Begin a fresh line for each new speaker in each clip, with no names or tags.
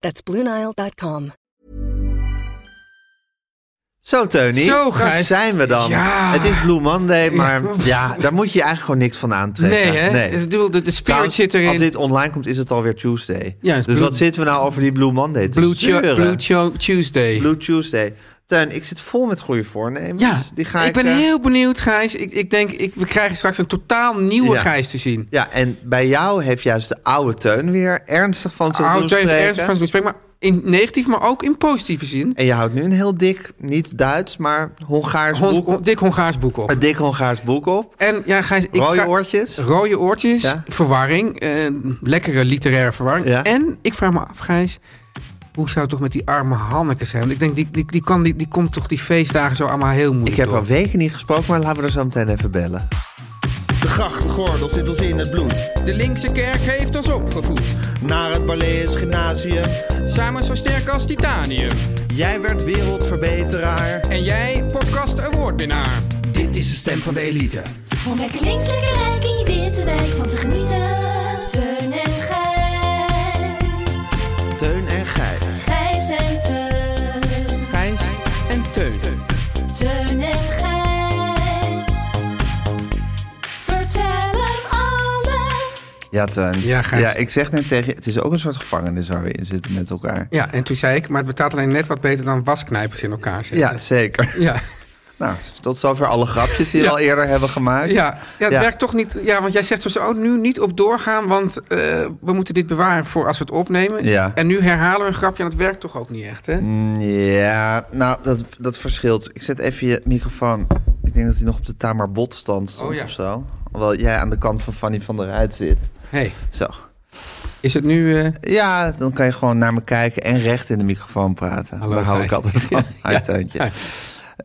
That's BlueNile.com.
Zo, Tony.
Zo,
daar
Gijs.
zijn we dan.
Ja.
Het is Blue Monday, maar ja. daar moet je eigenlijk gewoon niks van aantrekken.
Nee, hè? Ik bedoel, de, de spirit
Trouwens,
zit erin.
Als dit online komt, is het alweer Tuesday.
Ja, het
dus
is Blue-
wat zitten we nou over die Blue Monday te
Blue, Cho-
zeuren?
Blue Cho- Tuesday.
Blue Tuesday. Teun, ik zit vol met goede voornemens.
ja,
die ga
ik,
ik,
ben
eh,
heel benieuwd, Gijs. Ik, ik denk, ik, we krijgen straks een totaal nieuwe
Ja.
Gijs te zien.
Ja, en bij jou heeft juist de oude Teun weer ernstig van zijn
Houdt
doen
jij even
spreken.
ernstig van zo'n gesprek, maar in negatief, maar ook in positieve zin.
En je houdt nu een heel dik, niet Duits, maar Hongaars
Hons-
boek op.
dik Hongaars boek op.
Een dik Hongaars boek op.
En ja, Gijs, ik
Rode
vraag-
oortjes.
Rode oortjes,
Ja.
verwarring, eh, lekkere literaire verwarring.
Ja.
En ik vraag me af, Gijs, hoe zou het toch met die arme Hanneke zijn? Want ik denk, die, die, die, kan, die, die komt toch die feestdagen zo allemaal heel moeilijk
Ik heb
door.
al weken niet gesproken, maar laten we er zo meteen even bellen.
De grachtgordel zit ons in het bloed.
De linkse kerk heeft ons opgevoed.
Naar het Balees Gymnasium.
Samen zo sterk als titanium.
Jij werd wereldverbeteraar.
En jij, podcast awardwinnaar.
Dit is de stem van de elite.
Om lekker links, lekker rijk in je witte wijk van te genieten. Teun en Gijs.
Teun en Gijs.
Gijs en Teun.
Gijs en Teun.
Teun en Gijs. Vertel hem alles.
Ja, Teun.
Ja, Gijs.
ik zeg net tegen je, het is ook een soort gevangenis waar we in zitten met elkaar.
Ja, en toen zei ik, maar het betaalt alleen net wat beter dan wasknijpers in elkaar zitten.
Ja, zeker.
Ja,
Nou, tot zover alle grapjes die we
Ja.
al eerder hebben gemaakt.
ja, ja het
Ja.
werkt toch niet. Ja, want jij zegt zo, oh, nu niet op doorgaan, want eh, we moeten dit bewaren voor als we het opnemen.
Ja.
En nu herhalen we een grapje en dat werkt toch ook niet echt, hè?
Mm.
Mm, Ja, nou, dat, dat verschilt. Ik zet even je microfoon. Ik denk dat hij nog op de Tamar Botstand stond
Oh, ja.
of zo. Hoewel jij aan de kant van Fanny van der Rijt zit.
hey,
Zo.
is het nu... eh,
Ja, dan kan je gewoon naar me kijken en recht in de microfoon praten.
Hallo,
Daar hou ik
Gijs.
altijd van. Hi, Teuntje.
Hi.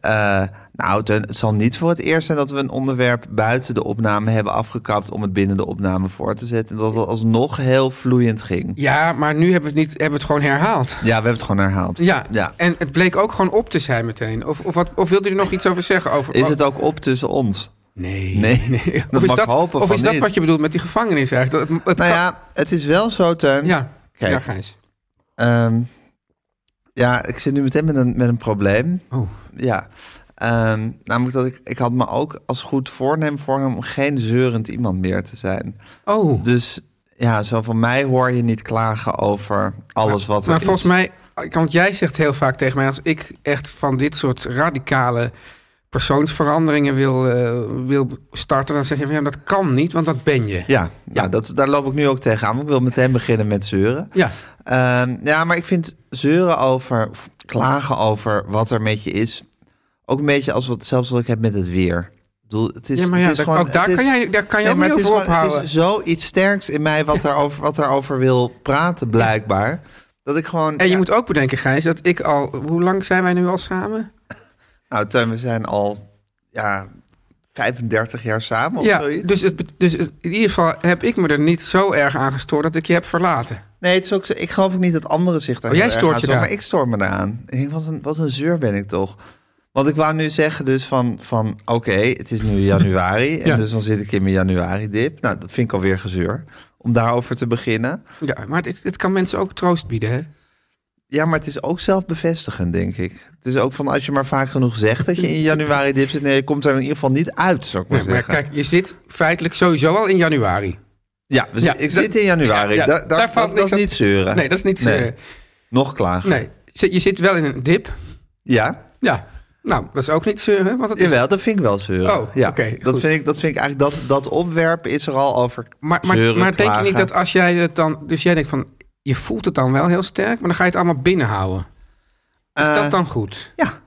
Eh, nou, Teun, het zal niet voor het eerst zijn dat we een onderwerp buiten de opname hebben afgekapt om het binnen de opname voor te zetten. En dat het alsnog heel vloeiend ging.
Ja, maar nu hebben we het, niet, hebben we het gewoon herhaald.
Ja, we hebben het gewoon herhaald.
Ja,
ja.
en het bleek ook gewoon op te zijn meteen. Of, of, wat, of wilde u er nog iets over zeggen? Over,
Is het ook op tussen ons?
Nee.
Nee. Dat
Of is
mag
dat,
ik hopen
of
van
is dat
niet.
wat je bedoelt met die gevangenis eigenlijk? Dat, het- het
Nou
kan-
ja, het is wel zo, Teun.
ja.
Kijk.
Ja, Gijs.
Ehm, ja, ik zit nu meteen met een, met een probleem.
Oh.
Ja. Ehm, namelijk dat ik, ik had me ook als goed voornemen voorgenomen om geen zeurend iemand meer te zijn.
Oh,
Dus ja, zo van mij hoor je niet klagen over alles wat er
maar
is.
volgens mij, want jij zegt heel vaak tegen mij, als ik echt van dit soort radicale persoonsveranderingen wil, eh, wil starten, dan zeg je van ja, dat kan niet, want dat ben je.
Ja, ja.
Ja.
dat, daar loop ik nu ook tegenaan. want Ik wil meteen beginnen met zeuren.
Ja.
Ehm, ja, maar ik vind zeuren over, of klagen over wat er met je is, ook een beetje als wat, zelfs wat ik heb met het weer. Ik bedoel, het is,
Ja, maar ja,
het is
daar-
gewoon,
ook daar
het is-
kan jij- daar kan je ook
maar
niet
het is
over
gewoon- Het is
ophouden.
zoiets sterks in mij wat, daarover, wat daarover wil praten, blijkbaar. Dat ik gewoon...
En je
ja,
moet ook bedenken, Gijs, dat ik al, hoe lang zijn wij nu al samen?
Nou, Teun, we zijn al ja, 35 jaar samen of
Ja,
zoiets.
dus, het, bet- dus het- in ieder geval heb ik me er niet zo erg aan gestoord dat ik je heb verlaten.
Nee, het is ook, zo- ik geloof ook niet dat anderen zich daar
Oh,
heel
jij
erg
stoort
aan
je
storen,
daar.
Maar ik stoor me eraan. Ik denk, wat een, wat een zeur ben ik toch. Want ik wou nu zeggen dus van, van oké, het is nu januari. En
Ja.
dus dan zit ik in mijn januari-dip. Nou, dat vind ik alweer gezeur. Om daarover te beginnen.
Ja, maar dit, dit kan mensen ook troost bieden, hè?
Ja, maar het is ook zelfbevestigend, denk ik. Het is ook van, als je maar vaak genoeg zegt dat je in januari-dip zit... Nee, je komt er in ieder geval niet uit, zou ik maar
Nee, maar
zeggen.
kijk, je zit feitelijk sowieso al in januari.
ja, we zi-
Ja,
ik
dat-
zit in januari.
ja, ja,
Da- da-
daar valt
dat, dat
niks
is
aan-
niet zeuren.
Nee, dat is niet...
Nee.
eh,
Nog klagen.
nee. zit- je zit wel in een dip.
Ja,
Ja. Nou, dat is ook niet zeuren, want het is...
jawel, dat vind ik wel zeuren.
Oh,
ja.
oké,
dat,
goed.
vind ik, dat vind ik eigenlijk, dat, dat opwerp is er al over
Maar, maar,
zeuren,
maar denk je niet
klagen.
dat als jij het dan... Dus jij denkt van, je voelt het dan wel heel sterk, maar dan ga je het allemaal binnenhouden. Is
Eh,
dat dan goed?
Ja.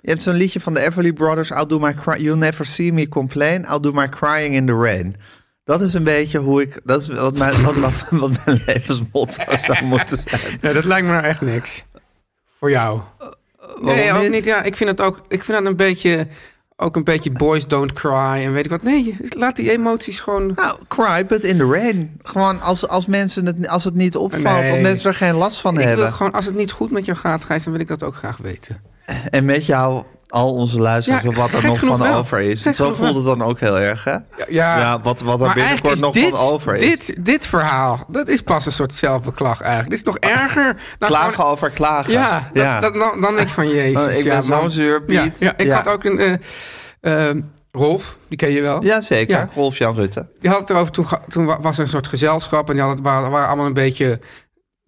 Je hebt zo'n liedje van de Everly Brothers. I'll do my cry- You'll never see me complain. I'll do my crying in the rain. Dat is een beetje hoe ik. Dat is wat mijn, wat, wat, wat mijn levensmotto zou moeten zijn.
Nee, dat lijkt me nou echt niks. Voor jou. nee,
Waarom
ook niet. Ja, ik vind het ook. Ik vind dat een beetje. Ook een beetje boys don't cry en weet ik wat. Nee, laat die emoties gewoon.
Nou, cry, but in the rain. Gewoon als, als mensen het, als het niet opvalt,
Nee.
als mensen er geen last van
Ik wil
hebben.
gewoon, als het niet goed met jou gaat, Gijs, dan wil ik dat ook graag weten.
En met jou, al onze luisteraars,
Ja,
of wat er
gek
nog
genoeg
van
wel.
over is.
Gek
Zo
genoeg
voelt
wel.
het dan ook heel erg, hè? Ja, wat, wat er
maar
binnenkort nog
eigenlijk is
van over is.
Dit, dit verhaal, dat is pas een soort zelfbeklag eigenlijk. Dit is nog erger. Dan
klagen
gewoon-
over klagen.
Ja, dat- dat- dan, dan denk ik van
Oh,
Jezus.
ik
ja,
ben zo'n
man.
zeur, Piet.
Ja, ja, ik
Ja.
had ook een. eh, eh, Rolf, die ken je wel.
Jazeker,
Ja.
Rolf-Jan Rutte.
Die had het erover, toen, ga- toen wa- was er een soort gezelschap en die had het, waren, waren allemaal een beetje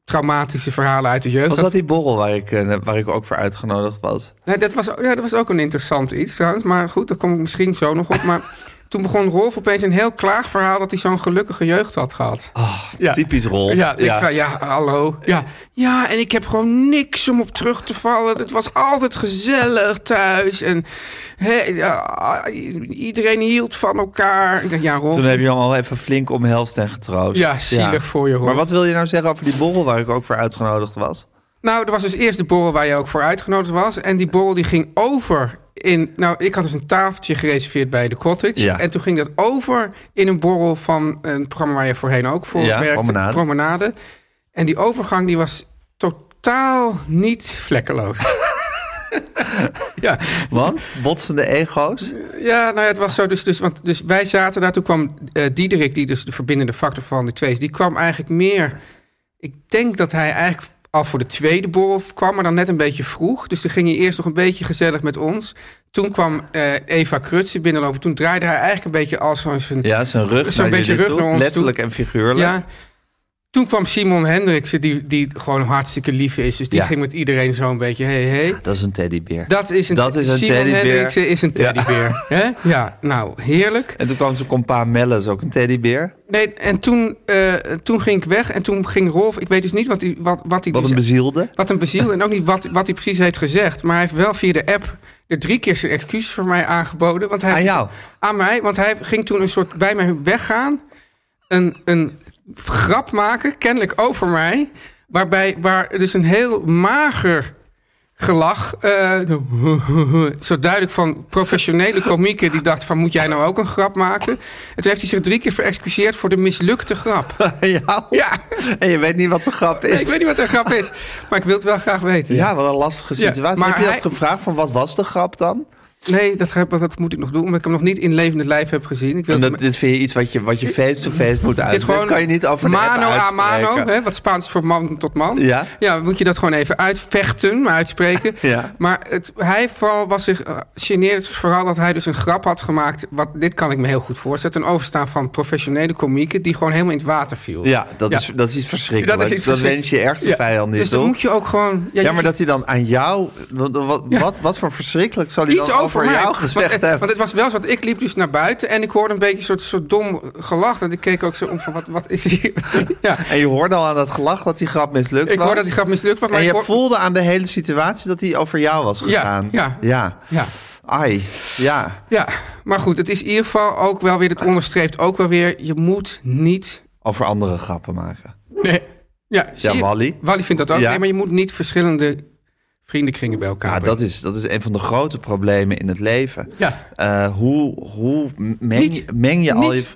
traumatische verhalen uit de jeugd.
Was dat die borrel waar ik, eh, waar ik ook voor uitgenodigd was?
Nee, dat, was, ja, dat was ook een interessant iets trouwens, maar goed, daar kom ik misschien zo nog op. Maar toen begon Rolf opeens een heel klaagverhaal dat hij zo'n gelukkige jeugd had gehad. Ah, Ja.
Oh, Typisch Rolf.
Ja, ik zei, ja, hallo. Ja. ja, en ik heb gewoon niks om op terug te vallen. Het was altijd gezellig thuis. En hè, ja, iedereen hield van elkaar. Ik dacht, ja, Rolf.
Toen heb je hem al even flink omhelst en getroost.
Ja, zielig voor je, Rolf.
Maar wat wil je nou zeggen over die borrel waar ik ook voor uitgenodigd was?
Nou, er was dus eerst de borrel waar je ook voor uitgenodigd was. En die borrel die ging over in... Nou, ik had dus een tafeltje gereserveerd bij de cottage.
Ja.
En toen ging dat over in een borrel van een programma waar je voorheen ook voor
Ja,
werkte.
Promenade.
Promenade. En die overgang die was totaal niet vlekkeloos. ja.
Want? Botsende ego's?
ja, nou ja, het was zo. Dus, dus, want, dus wij zaten daar. Toen kwam eh, Diederik, die dus de verbindende factor van de twee is. Die kwam eigenlijk meer... Ik denk dat hij eigenlijk al voor de tweede borrel kwam, maar dan net een beetje vroeg. Dus toen ging hij eerst nog een beetje gezellig met ons. Toen kwam eh, Eva Krutse binnenlopen. Toen draaide hij eigenlijk een beetje als zo'n... zo'n-
Ja, zijn rug
Zo'n
naar
beetje
jullie
rug
toe.
naar ons
Letterlijk en figuurlijk.
Ja. Toen kwam Simon Hendriksen, die, die gewoon hartstikke lief is. Dus die
Ja.
ging met iedereen zo'n beetje... Hey, hey.
Dat is een teddybeer.
Dat is een,
Dat is een
Simon eh,
teddybeer.
Hendriksen is een
Ja.
teddybeer. Ja. ja, nou, heerlijk.
En toen kwam zijn compa Mellis, ook een teddybeer.
Nee, en toen, eh, toen ging ik weg en toen ging Rolf... Ik weet dus niet wat hij... Wat, wat, hij
Wat
dus-
een bezielde.
wat een beziel en ook niet wat, wat hij precies heeft gezegd. Maar hij heeft wel via de app er drie keer zijn excuses voor mij aangeboden. Want hij
Aan jou?
Aan mij, want hij ging toen een soort bij mij weggaan. Een, een grap maken, kennelijk over mij. Waarbij waar dus een heel mager gelach. eh, zo duidelijk van professionele komieken die dacht van moet jij nou ook een grap maken? En toen heeft hij zich drie keer verexcuseerd voor de mislukte grap.
ja.
Ja,
En je weet niet wat de grap is.
ik weet niet wat een grap is, maar ik wil het wel graag weten.
Ja, wat een lastige
Ja,
situatie.
maar
heb je
hij-
dat gevraagd van wat was de grap dan?
Nee, dat, heb- dat moet ik nog doen, omdat ik hem nog niet in levende lijf heb gezien. Ik wil
En dat,
het-
dit vind je iets wat je wat je face-to-face moet
dit
uitleggen. Dat kan je niet over de app
mano a mano,
uitspreken.
hè, wat Spaans voor man tot man.
Ja.
ja, moet je dat gewoon even uitvechten, maar uitspreken.
Ja.
Maar het, hij vooral was zich, eh, geneerde zich vooral dat hij dus een grap had gemaakt. Wat, dit kan ik me heel goed voorstellen. Een overstaan van professionele komieken die gewoon helemaal in het water viel.
Ja, dat,
Ja.
Is, dat is iets verschrikkelijks. Dat,
iets verschrik-
wens je ergste
Ja,
vijand niet,
Dus dan
toch?
moet je ook gewoon...
Ja,
je-
maar dat hij dan aan jou... Wat, wat,
Ja.
wat, wat voor verschrikkelijk zal hij
Iets
dan
over,
over,
mij.
jou
Want-
gezegd
want,
hebben?
Want het was wel zo, want ik liep dus naar buiten en ik hoorde een beetje een soort, soort dom gelach. En ik keek ook zo om van, wat, wat is hier? ja.
En je hoorde al aan dat gelach dat die grap mislukt
Ik
was.
hoorde dat die grap mislukt was, maar
en je
ik hoor-
voelde aan de hele situatie dat hij over jou was gegaan.
ja.
ja.
Ja.
Ai, ja.
ja, maar goed, het is in ieder geval ook wel weer, het onderstreept ook wel weer, je moet niet...
Over andere grappen maken.
Nee. Ja, zie je?
Wally.
Wally vindt dat ook,
Ja.
nee, maar je moet niet verschillende vriendenkringen bij elkaar
Ja,
brengen.
dat is, dat is een van de grote problemen in het leven.
Ja.
Eh, hoe hoe meng,
Niet.
meng je al
Niet.
je...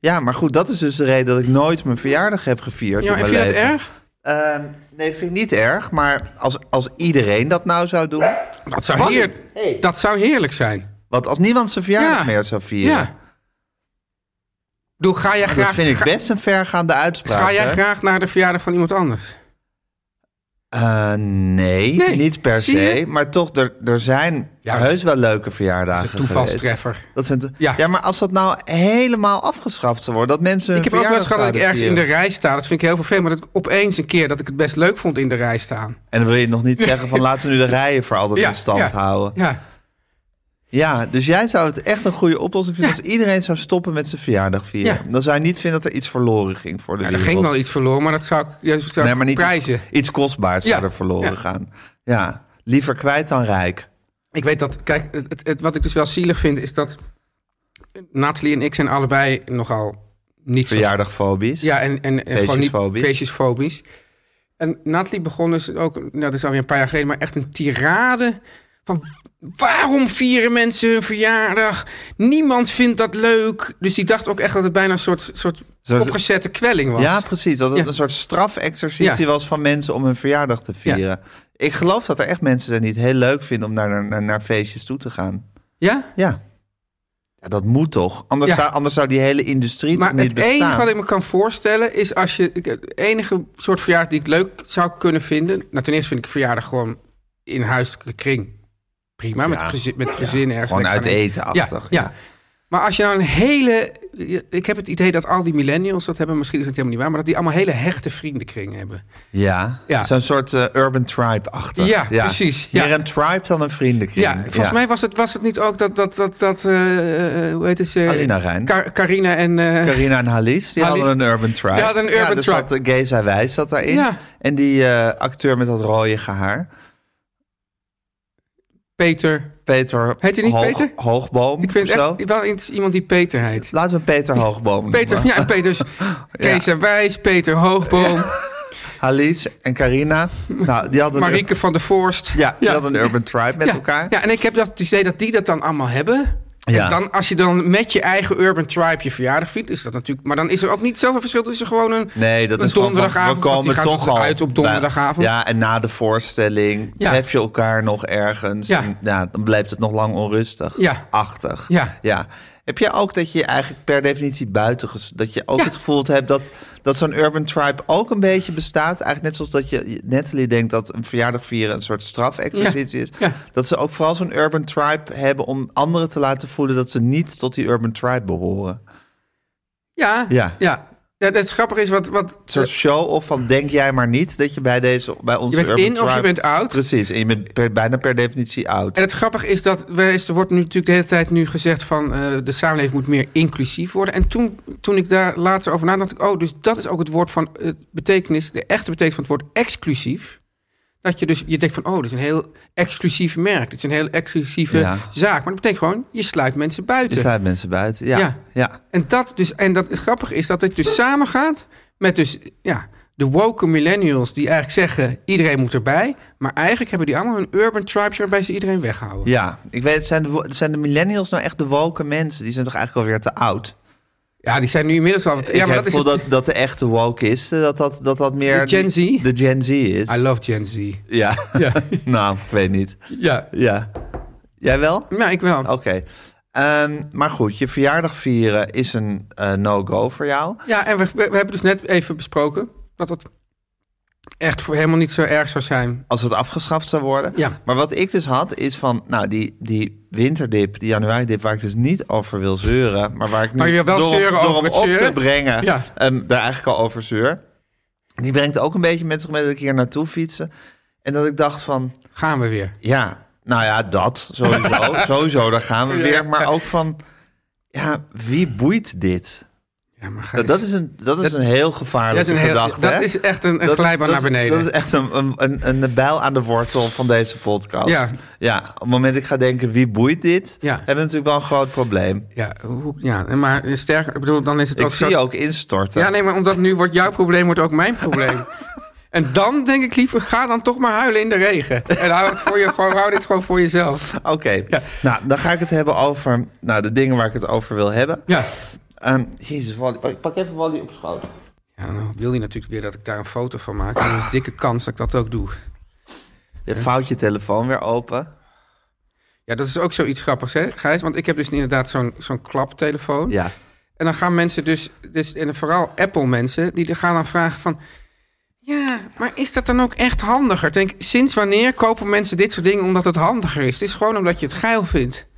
Ja, maar goed, dat is dus de reden dat ik nooit mijn verjaardag heb gevierd
Ja,
in
en
mijn
vind je dat
leven.
erg?
Ehm, nee, vind ik niet erg. Maar als, als iedereen dat nou zou doen...
Dat zou,
Wally.
heer... dat zou heerlijk zijn.
Want als niemand zijn verjaardag
Ja.
meer zou vieren...
Ja. Doe, ga jij
Dat
graag...
vind ik
ga-
best een vergaande uitspraak.
Ga jij
hè?
graag naar de verjaardag van iemand anders?
Eh, nee,
Nee,
niet per
zie je?
se. Maar toch, er, er zijn
Ja, dat
heus
is-
wel leuke verjaardagen.
dat is een toevalstreffer.
geweest. Dat zijn to- ja.
Ja.
maar als dat nou helemaal afgeschaft zou worden, dat mensen. hun
Ik heb ook wel eens gehad dat ik
verjaardag
ergens in de
zouden
rij sta. Dat vind ik heel vervelend. Maar dat ik opeens een keer dat ik het best leuk vond in de rij staan.
vieren. En dan wil je nog niet zeggen van laten we nu de rijen voor altijd
Ja,
in stand
ja.
houden.
Ja,
Ja, dus jij zou het echt een goede oplossing vinden
Ja.
als iedereen zou stoppen met zijn verjaardag vieren.
Ja.
Dan zou je niet vinden dat er iets verloren ging voor de
ja er
wereld.
ging wel iets verloren, maar dat zou ik, ja, zou
Nee,
ik
maar niet
prijzen.
iets, iets kostbaars zou
Ja,
er verloren
ja.
gaan. Ja, liever kwijt dan rijk.
Ik weet dat, kijk, het, het- het- wat ik dus wel zielig vind is dat Nathalie en ik zijn allebei nogal niet zo...
Verjaardagfobies.
Ja, en, en, en gewoon niet
Feestjesfobisch.
feestjesfobisch. En Nathalie begon dus ook, nou, dat is alweer een paar jaar geleden, maar echt een tirade van waarom vieren mensen hun verjaardag? Niemand vindt dat leuk. Dus die dacht ook echt dat het bijna een soort, soort
Zoals-
opgezette kwelling was.
Ja, precies. Dat het
Ja.
een soort strafexercitie
Ja.
was van mensen om hun verjaardag te vieren. Ik geloof dat er echt mensen zijn die het heel leuk vinden om naar, naar, naar feestjes toe te gaan.
ja?
Ja. ja dat moet toch? Anders,
Ja.
zou, anders zou die hele industrie
Maar
toch niet
het enige
bestaan?
wat ik me kan voorstellen is als je. ik- Het enige soort verjaardag die ik leuk zou kunnen vinden. Nou, ten eerste vind ik verjaardag gewoon in huiselijke kring prima. Met,
Ja.
gezin, met gezin ergens.
Gewoon
lekker
uit eten
gaan Ja,
achtig.
ja. Maar als je nou een hele. Ik heb het idee dat al die millennials dat hebben. Misschien is dat helemaal niet waar. Maar dat die allemaal hele hechte vriendenkring hebben.
Ja.
Ja.
Zo'n soort eh, urban tribe-achtig.
Ja, precies. Ja.
Meer een tribe dan een vriendenkring.
Ja, volgens mij was het, was het niet ook dat. dat, dat, dat eh, eh, hoe heet ze?
Alina Rijn.
Ka- Carina en. eh,
Carina en Halis, die
Halis-
hadden een urban tribe.
Die hadden een urban
dus
tribe.
Zat, eh, Geza Wijs zat daarin.
Ja.
En die eh, acteur met dat rooige haar.
Peter.
Peter,
Heet hij niet
Hoog-
Peter?
Hoogboom
Ik vind
of
het
zo.
echt wel iets- iemand die Peter heet.
Laten we Peter Hoogboom
Peter,
noemen.
ja, Peters. Kees en Wijs, Peter Hoogboom,
Alice en Carina. Nou, die hadden
Marieke van der Voorst.
Een, ja, die hadden een urban tribe met
ja,
elkaar.
Ja, en ik heb dat het idee dat die dat dan allemaal hebben.
Ja.
En dan, als je dan met je eigen urban tribe je verjaardag viert, is dat natuurlijk... Maar dan is er ook niet zoveel verschil tussen gewoon een,
Nee, dat
een
is gewoon van,
donderdagavond... want die
we komen
gaat dus
toch al
uit op donderdagavond.
Ja, en na de voorstelling
Ja.
tref je elkaar nog ergens.
Ja.
En, ja, dan blijft het nog lang onrustig.
Ja.
Achtig.
Ja.
Heb je ook dat je eigenlijk per definitie buiten... ges- dat je ook
Ja.
het gevoel hebt dat, dat zo'n urban tribe ook een beetje bestaat? Eigenlijk net zoals dat je Natalie denkt dat een verjaardag vieren... een soort strafexercitie
Ja.
is.
Ja.
Dat ze ook vooral zo'n urban tribe hebben... om anderen te laten voelen dat ze niet tot die urban tribe behoren.
Ja,
Ja.
ja. Ja, dat is grappig is wat... wat
Een soort show of van denk jij maar niet dat je bij deze bij ons
Je bent in of je bent oud.
Precies, en je bent per- bijna per definitie oud.
En het grappige is dat wij- er wordt nu natuurlijk de hele tijd nu gezegd van eh, de samenleving moet meer inclusief worden. En toen, toen ik daar later over nadacht, dacht ik, oh, dus dat is ook het woord van eh, betekenis, de echte betekenis van het woord exclusief. Dat je dus je denkt van, oh, dit is een heel exclusief merk. Dit is een heel exclusieve
Ja.
zaak. Maar dat betekent gewoon, je sluit mensen
je
buiten.
sluit mensen buiten. Ja, ja.
Ja. En dat dus, en dat het grappige is dat het dus samengaat met dus, ja, de woke millennials die eigenlijk zeggen, iedereen moet erbij. Maar eigenlijk hebben die allemaal hun urban tribes waarbij ze iedereen weghouden.
Ja. ik weet, zijn de, wo- zijn de millennials nou echt de woke mensen? Die zijn toch eigenlijk alweer te oud?
Ja, die zijn nu inmiddels al wat.
ik
Ja, maar
heb
dat is.
het
het-
gevoel dat, dat de echte woke is, eh, dat dat, dat, dat meer...
De Gen Z?
De Gen Z is.
I love Gen Z.
ja,
Ja.
nou, ik weet niet.
Ja.
Ja. Jij wel?
Ja, ik wel.
Oké. Ehm, maar goed, je verjaardag vieren is een eh, no-go voor jou.
Ja, en we, we, we hebben dus net even besproken dat dat echt voor helemaal niet zo erg zou zijn.
als het afgeschaft zou worden.
Ja.
Maar wat ik dus had, is van, nou, die, die winterdip, die januari-dip, waar ik dus niet over wil zeuren, maar waar ik nu
Maar je wil wel
door, hem-
zeuren
door
over
hem
het
op
zeuren?
te brengen,
Ja.
ehm, daar eigenlijk al over zeur. Die brengt ook een beetje met zich mee dat ik hier naartoe fietsen. En dat ik dacht van,
Gaan we weer.
ja, nou ja, dat sowieso, sowieso, daar gaan we weer. Maar ook van, ja, wie boeit dit?
Ja, maar Gijs,
Nou, dat is een, dat is
Dat-
een heel gevaarlijke
dat is een heel-
gedachte.
dat
hè?
is echt een- een
Dat is-
glijbaan
dat
naar
is-
beneden.
Dat is echt een, een, een, een bijl aan de wortel van deze podcast.
Ja.
op het moment dat ik ga denken, wie boeit dit?
Ja.
Hebben we natuurlijk wel een groot probleem.
ja, hoe, ja, en maar sterker, ik bedoel, dan is het
Ik
ook
zie
zo.
je ook instorten.
Ja, nee, maar omdat nu wordt jouw probleem wordt ook mijn probleem. en dan denk ik liever, ga dan toch maar huilen in de regen. En hou, het voor je, gewoon, hou dit gewoon voor jezelf.
Oké, nou, dan ga ik het hebben over nou, de dingen waar ik het over wil hebben.
Ja.
Ehm, jezus, Wally, pak, pak even Wally op schoot.
Ja, nou wil je natuurlijk weer dat ik daar een foto van maak. En er is dikke kans dat ik dat ook doe.
Je vouwt je telefoon weer open.
Ja, dat is ook zoiets grappigs, hè, Gijs? Want ik heb dus inderdaad zo'n zo'n klaptelefoon.
Ja.
En dan gaan mensen dus, dus en vooral Apple-mensen, die gaan dan vragen van... Ja, maar is dat dan ook echt handiger? Ik Denk, sinds wanneer kopen mensen dit soort dingen omdat het handiger is? Het is gewoon omdat je het geil vindt.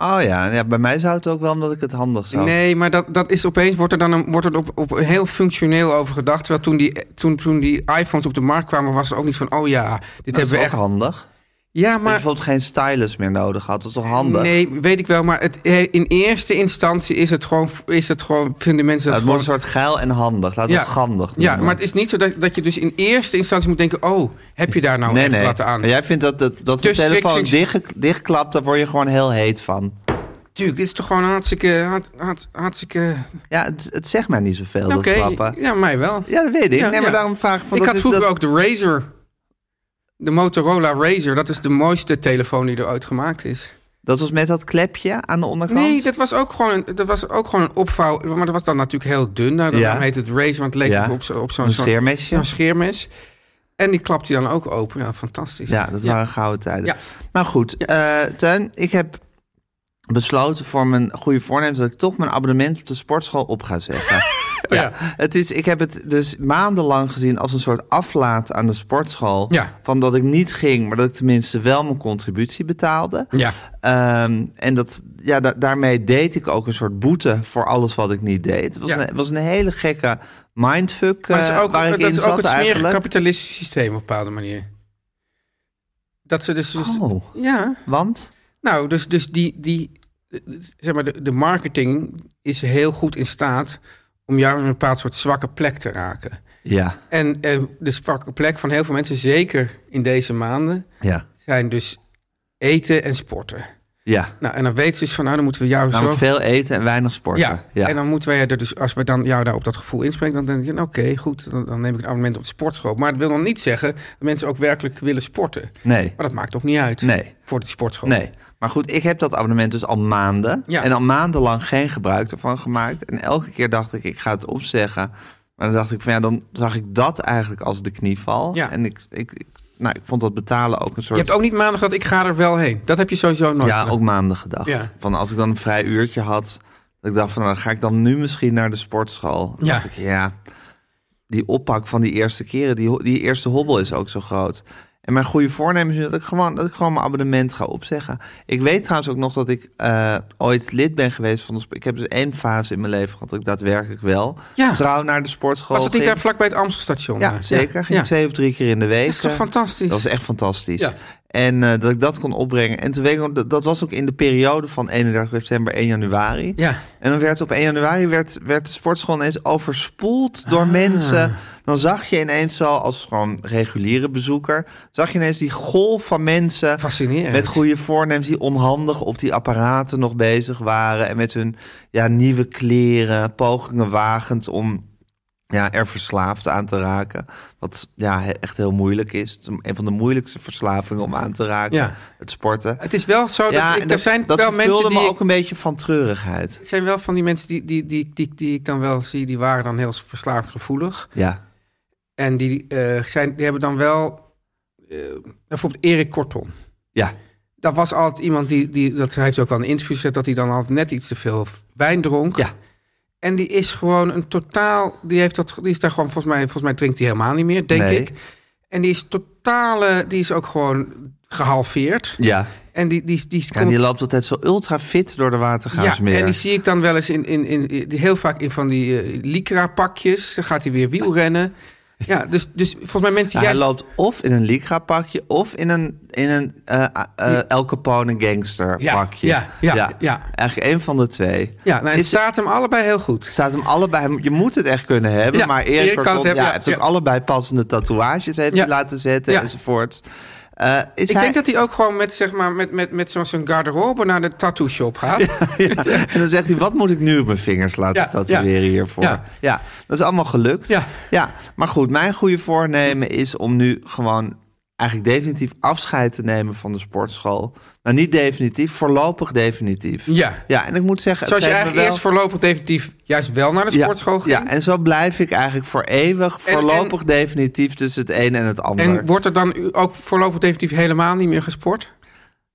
Oh ja, ja, bij mij zou het ook wel omdat ik het handig zou.
Nee, maar dat, dat is opeens wordt er dan een, wordt er op, op heel functioneel over gedacht. Terwijl toen die, toen, toen die iPhones op de markt kwamen, was er ook niet van: oh ja, dit
dat is
hebben we
ook
echt.
handig.
Ja,
Maar...
maar.
Dat je bijvoorbeeld geen stylus meer nodig had. Dat is toch handig?
Nee, weet ik wel, maar het, in eerste instantie is het gewoon, is het gewoon vinden mensen
Ja,
dat
het wordt
gewoon
een soort geil en handig. Laat het handig
Ja, maar het is niet zo dat, dat je dus in eerste instantie moet denken... oh, heb je daar nou
nee,
echt
nee.
wat aan?
Maar jij vindt dat, dat, dat de
Dus strikt
telefoon
functie-
dicht, dichtklapt, daar word je gewoon heel heet van.
Tuurlijk, dit is toch gewoon hartstikke... hart- hart- hartstikke...
Ja, het, het zegt mij niet zoveel, dat
Oké,
klappen.
ja, mij wel.
Ja, dat weet ik.
Ja,
nee, maar
ja.
daarom vraag ik... van,
ik
dat
had
is-
vroeger
dat-
ook de Razer. De Motorola Razer. Dat is de mooiste telefoon die er ooit gemaakt is.
Dat was met dat klepje aan de onderkant?
Nee, dat was ook gewoon een, dat was ook gewoon een opvouw. Maar dat was dan natuurlijk heel dun. Nou, daarom
Ja.
heet het Razer, want het leek
Ja.
op, zo- op zo'n
Een
zo'n-
scheermesje.
zo'n scheermes. En die klapte hij dan ook open. Nou, fantastisch.
Ja, dat waren gouden tijden.
Ja.
Nou goed, eh, Teun, ik heb besloten voor mijn goede voornemens dat ik toch mijn abonnement op de sportschool op ga zeggen. ja. het is, ik heb het dus maandenlang gezien als een soort aflaat aan de sportschool.
Ja.
Van dat ik niet ging, maar dat ik tenminste wel mijn contributie betaalde.
Ja.
Ehm, en dat, ja, da- daarmee deed ik ook een soort boete voor alles wat ik niet deed. Het was,
Ja.
een, het was een hele gekke mindfuck
Maar dat is
eh,
ook,
waar ik
dat
in
is
zat
ook het smerige
eigenlijk.
kapitalistische systeem op een bepaalde manier. Dat ze dus... dus-
Oh,
Ja,
want?
nou, dus, dus die, die... eh, Zeg maar, de, de marketing is heel goed in staat om jou in een bepaald soort zwakke plek te raken.
Ja,
En eh, de zwakke plek van heel veel mensen, zeker in deze maanden,
ja,
zijn dus eten en sporten.
ja.
Nou, en dan weet ze dus van, nou, dan moeten we jou zo...
Namelijk veel eten en weinig sporten.
Ja, en dan moeten wij er dus, als we dan jou daar op dat gevoel inspreken, dan denk je, nou, oké, goed, dan, dan neem ik een abonnement op de sportschool. Maar het wil dan niet zeggen dat mensen ook werkelijk willen sporten.
Nee.
Maar dat maakt ook niet uit
Nee.
voor de sportschool.
Nee. Maar goed, ik heb dat abonnement dus al maanden.
Ja.
En al maandenlang geen gebruik ervan gemaakt. En elke keer dacht ik, ik ga het opzeggen. Maar dan dacht ik van ja, dan zag ik dat eigenlijk als de knieval.
Ja.
En ik, ik, ik- nou, ik vond dat betalen ook een
Je
soort...
hebt ook niet maandag dat ik ga er wel heen. Dat heb je sowieso nooit.
ja,
gedaan.
ook maanden gedacht.
Ja.
Van als ik dan een vrij uurtje had. Dat ik dacht van, nou, dan ga ik dan nu misschien naar de sportschool. Dan
Ja.
dacht ik, ja, die oppak van die eerste keren, die, ho- die eerste hobbel is ook zo groot. En mijn goede voornemen is nu dat ik gewoon, dat ik gewoon mijn abonnement ga opzeggen. Ik weet trouwens ook nog dat ik eh, ooit lid ben geweest van de sport. Ik heb dus één fase in mijn leven gehad dat ik daadwerkelijk wel
Ja.
trouw naar de sportschool
Was dat niet
ging.
daar vlakbij het Amstelstation?
Ja,
daar?
zeker. Ging
Ja.
twee of drie keer in de week. Eh,
Dat is toch fantastisch?
Dat was echt fantastisch.
Ja.
En eh, dat ik dat kon opbrengen. En toen weet ik, nog, dat, dat was ook in de periode van 31 december 1 januari.
Ja.
En dan werd op 1 januari werd, werd de sportschool ineens overspoeld
Ah.
door mensen. Dan zag je ineens zo, als gewoon reguliere bezoeker, zag je ineens die golf van mensen.
Fascinerend.
Met goede voornemens die onhandig op die apparaten nog bezig waren. En met hun ja, nieuwe kleren, pogingen wagend om ja, er verslaafd aan te raken. Wat ja, he- echt heel moeilijk is. Het is een van de moeilijkste verslavingen om aan te raken.
Ja.
Het sporten.
Het is wel zo dat
ja,
ik,
en
er
dat,
zijn
dat
wel
vervulde
mensen die
me
ik-
ook een beetje van treurigheid.
er zijn wel van die mensen die, die, die, die, die ik dan wel zie, die waren dan heel verslaafgevoelig.
Ja.
En die, eh, zijn, die hebben dan wel. eh, bijvoorbeeld Erik Kortom.
Ja.
Dat was altijd iemand die. die dat hij heeft ook wel een interview gezet. dat hij dan altijd net iets te veel wijn dronk.
Ja.
En die is gewoon een totaal. Die, heeft dat, die is daar gewoon. Volgens mij, volgens mij drinkt hij helemaal niet meer, denk
Nee.
ik. En die is totale. Die is ook gewoon gehalveerd.
Ja.
En die, die, die,
En die loopt altijd zo ultra fit door de watergaasmeer.
en die zie ik dan wel eens in, in, in, in- heel vaak in van die eh, Lycra-pakjes. Dan gaat hij weer wielrennen. Ja, dus, dus volgens mij mensen die
Ja, hij
juist-
loopt of in een Lycra pakje of in een, in een eh eh, El Capone gangster
Ja,
pakje.
ja, ja, ja.
Eigenlijk één van de twee.
Ja, nou, het
Is-
staat hem allebei heel goed.
staat hem allebei. Je moet het echt kunnen hebben.
Ja,
maar Erik,
Erik kan
Kortom,
het hebben,
ja,
ja,
heeft
ja.
ook allebei passende tatoeages heeft
Ja.
hij laten zetten
Ja.
enzovoort. Eh, is
Ik
hij,
denk dat hij ook gewoon met, zeg maar, met, met, met zo'n zo'n garderobe naar de tattoo shop gaat.
Ja, En dan zegt hij, wat moet ik nu op mijn vingers laten
Ja,
tatoeëren
ja.
hiervoor? Ja.
Ja.
dat is allemaal gelukt.
Ja.
maar goed, mijn goede voornemen is om nu gewoon eigenlijk definitief afscheid te nemen van de sportschool. Nou, niet definitief, voorlopig definitief.
Ja.
Ja, en ik moet zeggen... het
Zoals je
geeft me
eigenlijk eerst voorlopig definitief juist wel naar de
Ja,
sportschool ging.
ja, en zo blijf ik eigenlijk voor eeuwig,
En-
voorlopig definitief tussen het een en het ander.
en wordt er dan u- ook voorlopig definitief helemaal niet meer gesport?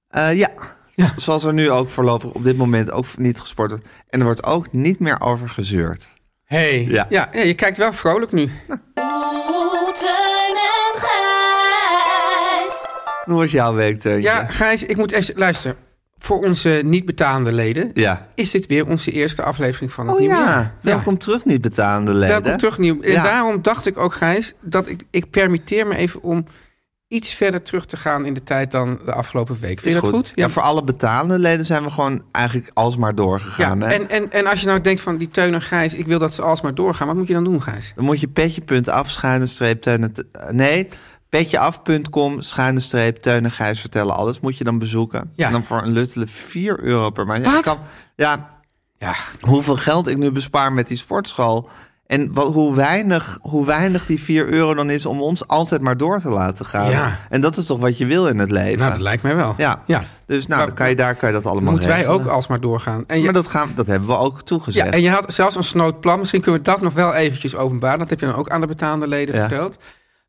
Eh, ja. Z- Zoals er nu ook voorlopig op dit moment ook niet gesport wordt. En er wordt ook niet meer over gezeurd.
Hey.
Ja.
Ja. Ja, je kijkt wel vrolijk nu.
Oeh, Teun en Gijs.
Hoe was jouw week, Teuntje?
Ja, Gijs, ik moet even luisteren. Voor onze niet betaande leden
Ja.
is dit weer onze eerste aflevering van het
Oh
nieuwe jaar.
ja, welkom terug niet betaande leden.
Welkom terug, Nieuw. En
Ja.
daarom dacht ik ook, Gijs, dat ik, ik permitteer me even om iets verder terug te gaan in de tijd dan de afgelopen week. Vind je dat goed?
Ja. voor alle betaalde leden zijn we gewoon eigenlijk alsmaar doorgegaan.
Ja,
hè?
en, en, en als je nou denkt van die Teun en Gijs, ik wil dat ze alsmaar doorgaan. Wat moet je dan doen, Gijs?
Dan moet je petje.af schuine streep Teun en- eh, Nee, petjeaf.com schuine streep Teun en Gijs vertellen alles. Moet je dan bezoeken.
Ja.
En dan voor een luttele 4 euro per maand. Ja,
Wat?
ik kan- ja,
Ja,
hoeveel geld ik nu bespaar met die sportschool. En wat, hoe, weinig, hoe weinig die 4 euro dan is om ons altijd maar door te laten gaan.
Ja.
En dat is toch wat je wil in het leven.
nou, dat lijkt mij wel.
Ja.
ja.
Dus nou,
Maar-
dan kan je, daar kan je dat allemaal
Moeten wij
regelen.
ook alsmaar doorgaan. En je,
Maar dat, gaan, dat hebben we ook
ja,
toegezegd.
en je had zelfs een snoot plan. Misschien kunnen we dat nog wel eventjes openbaar. Dat heb je dan ook aan de betaande leden
Ja.
verteld.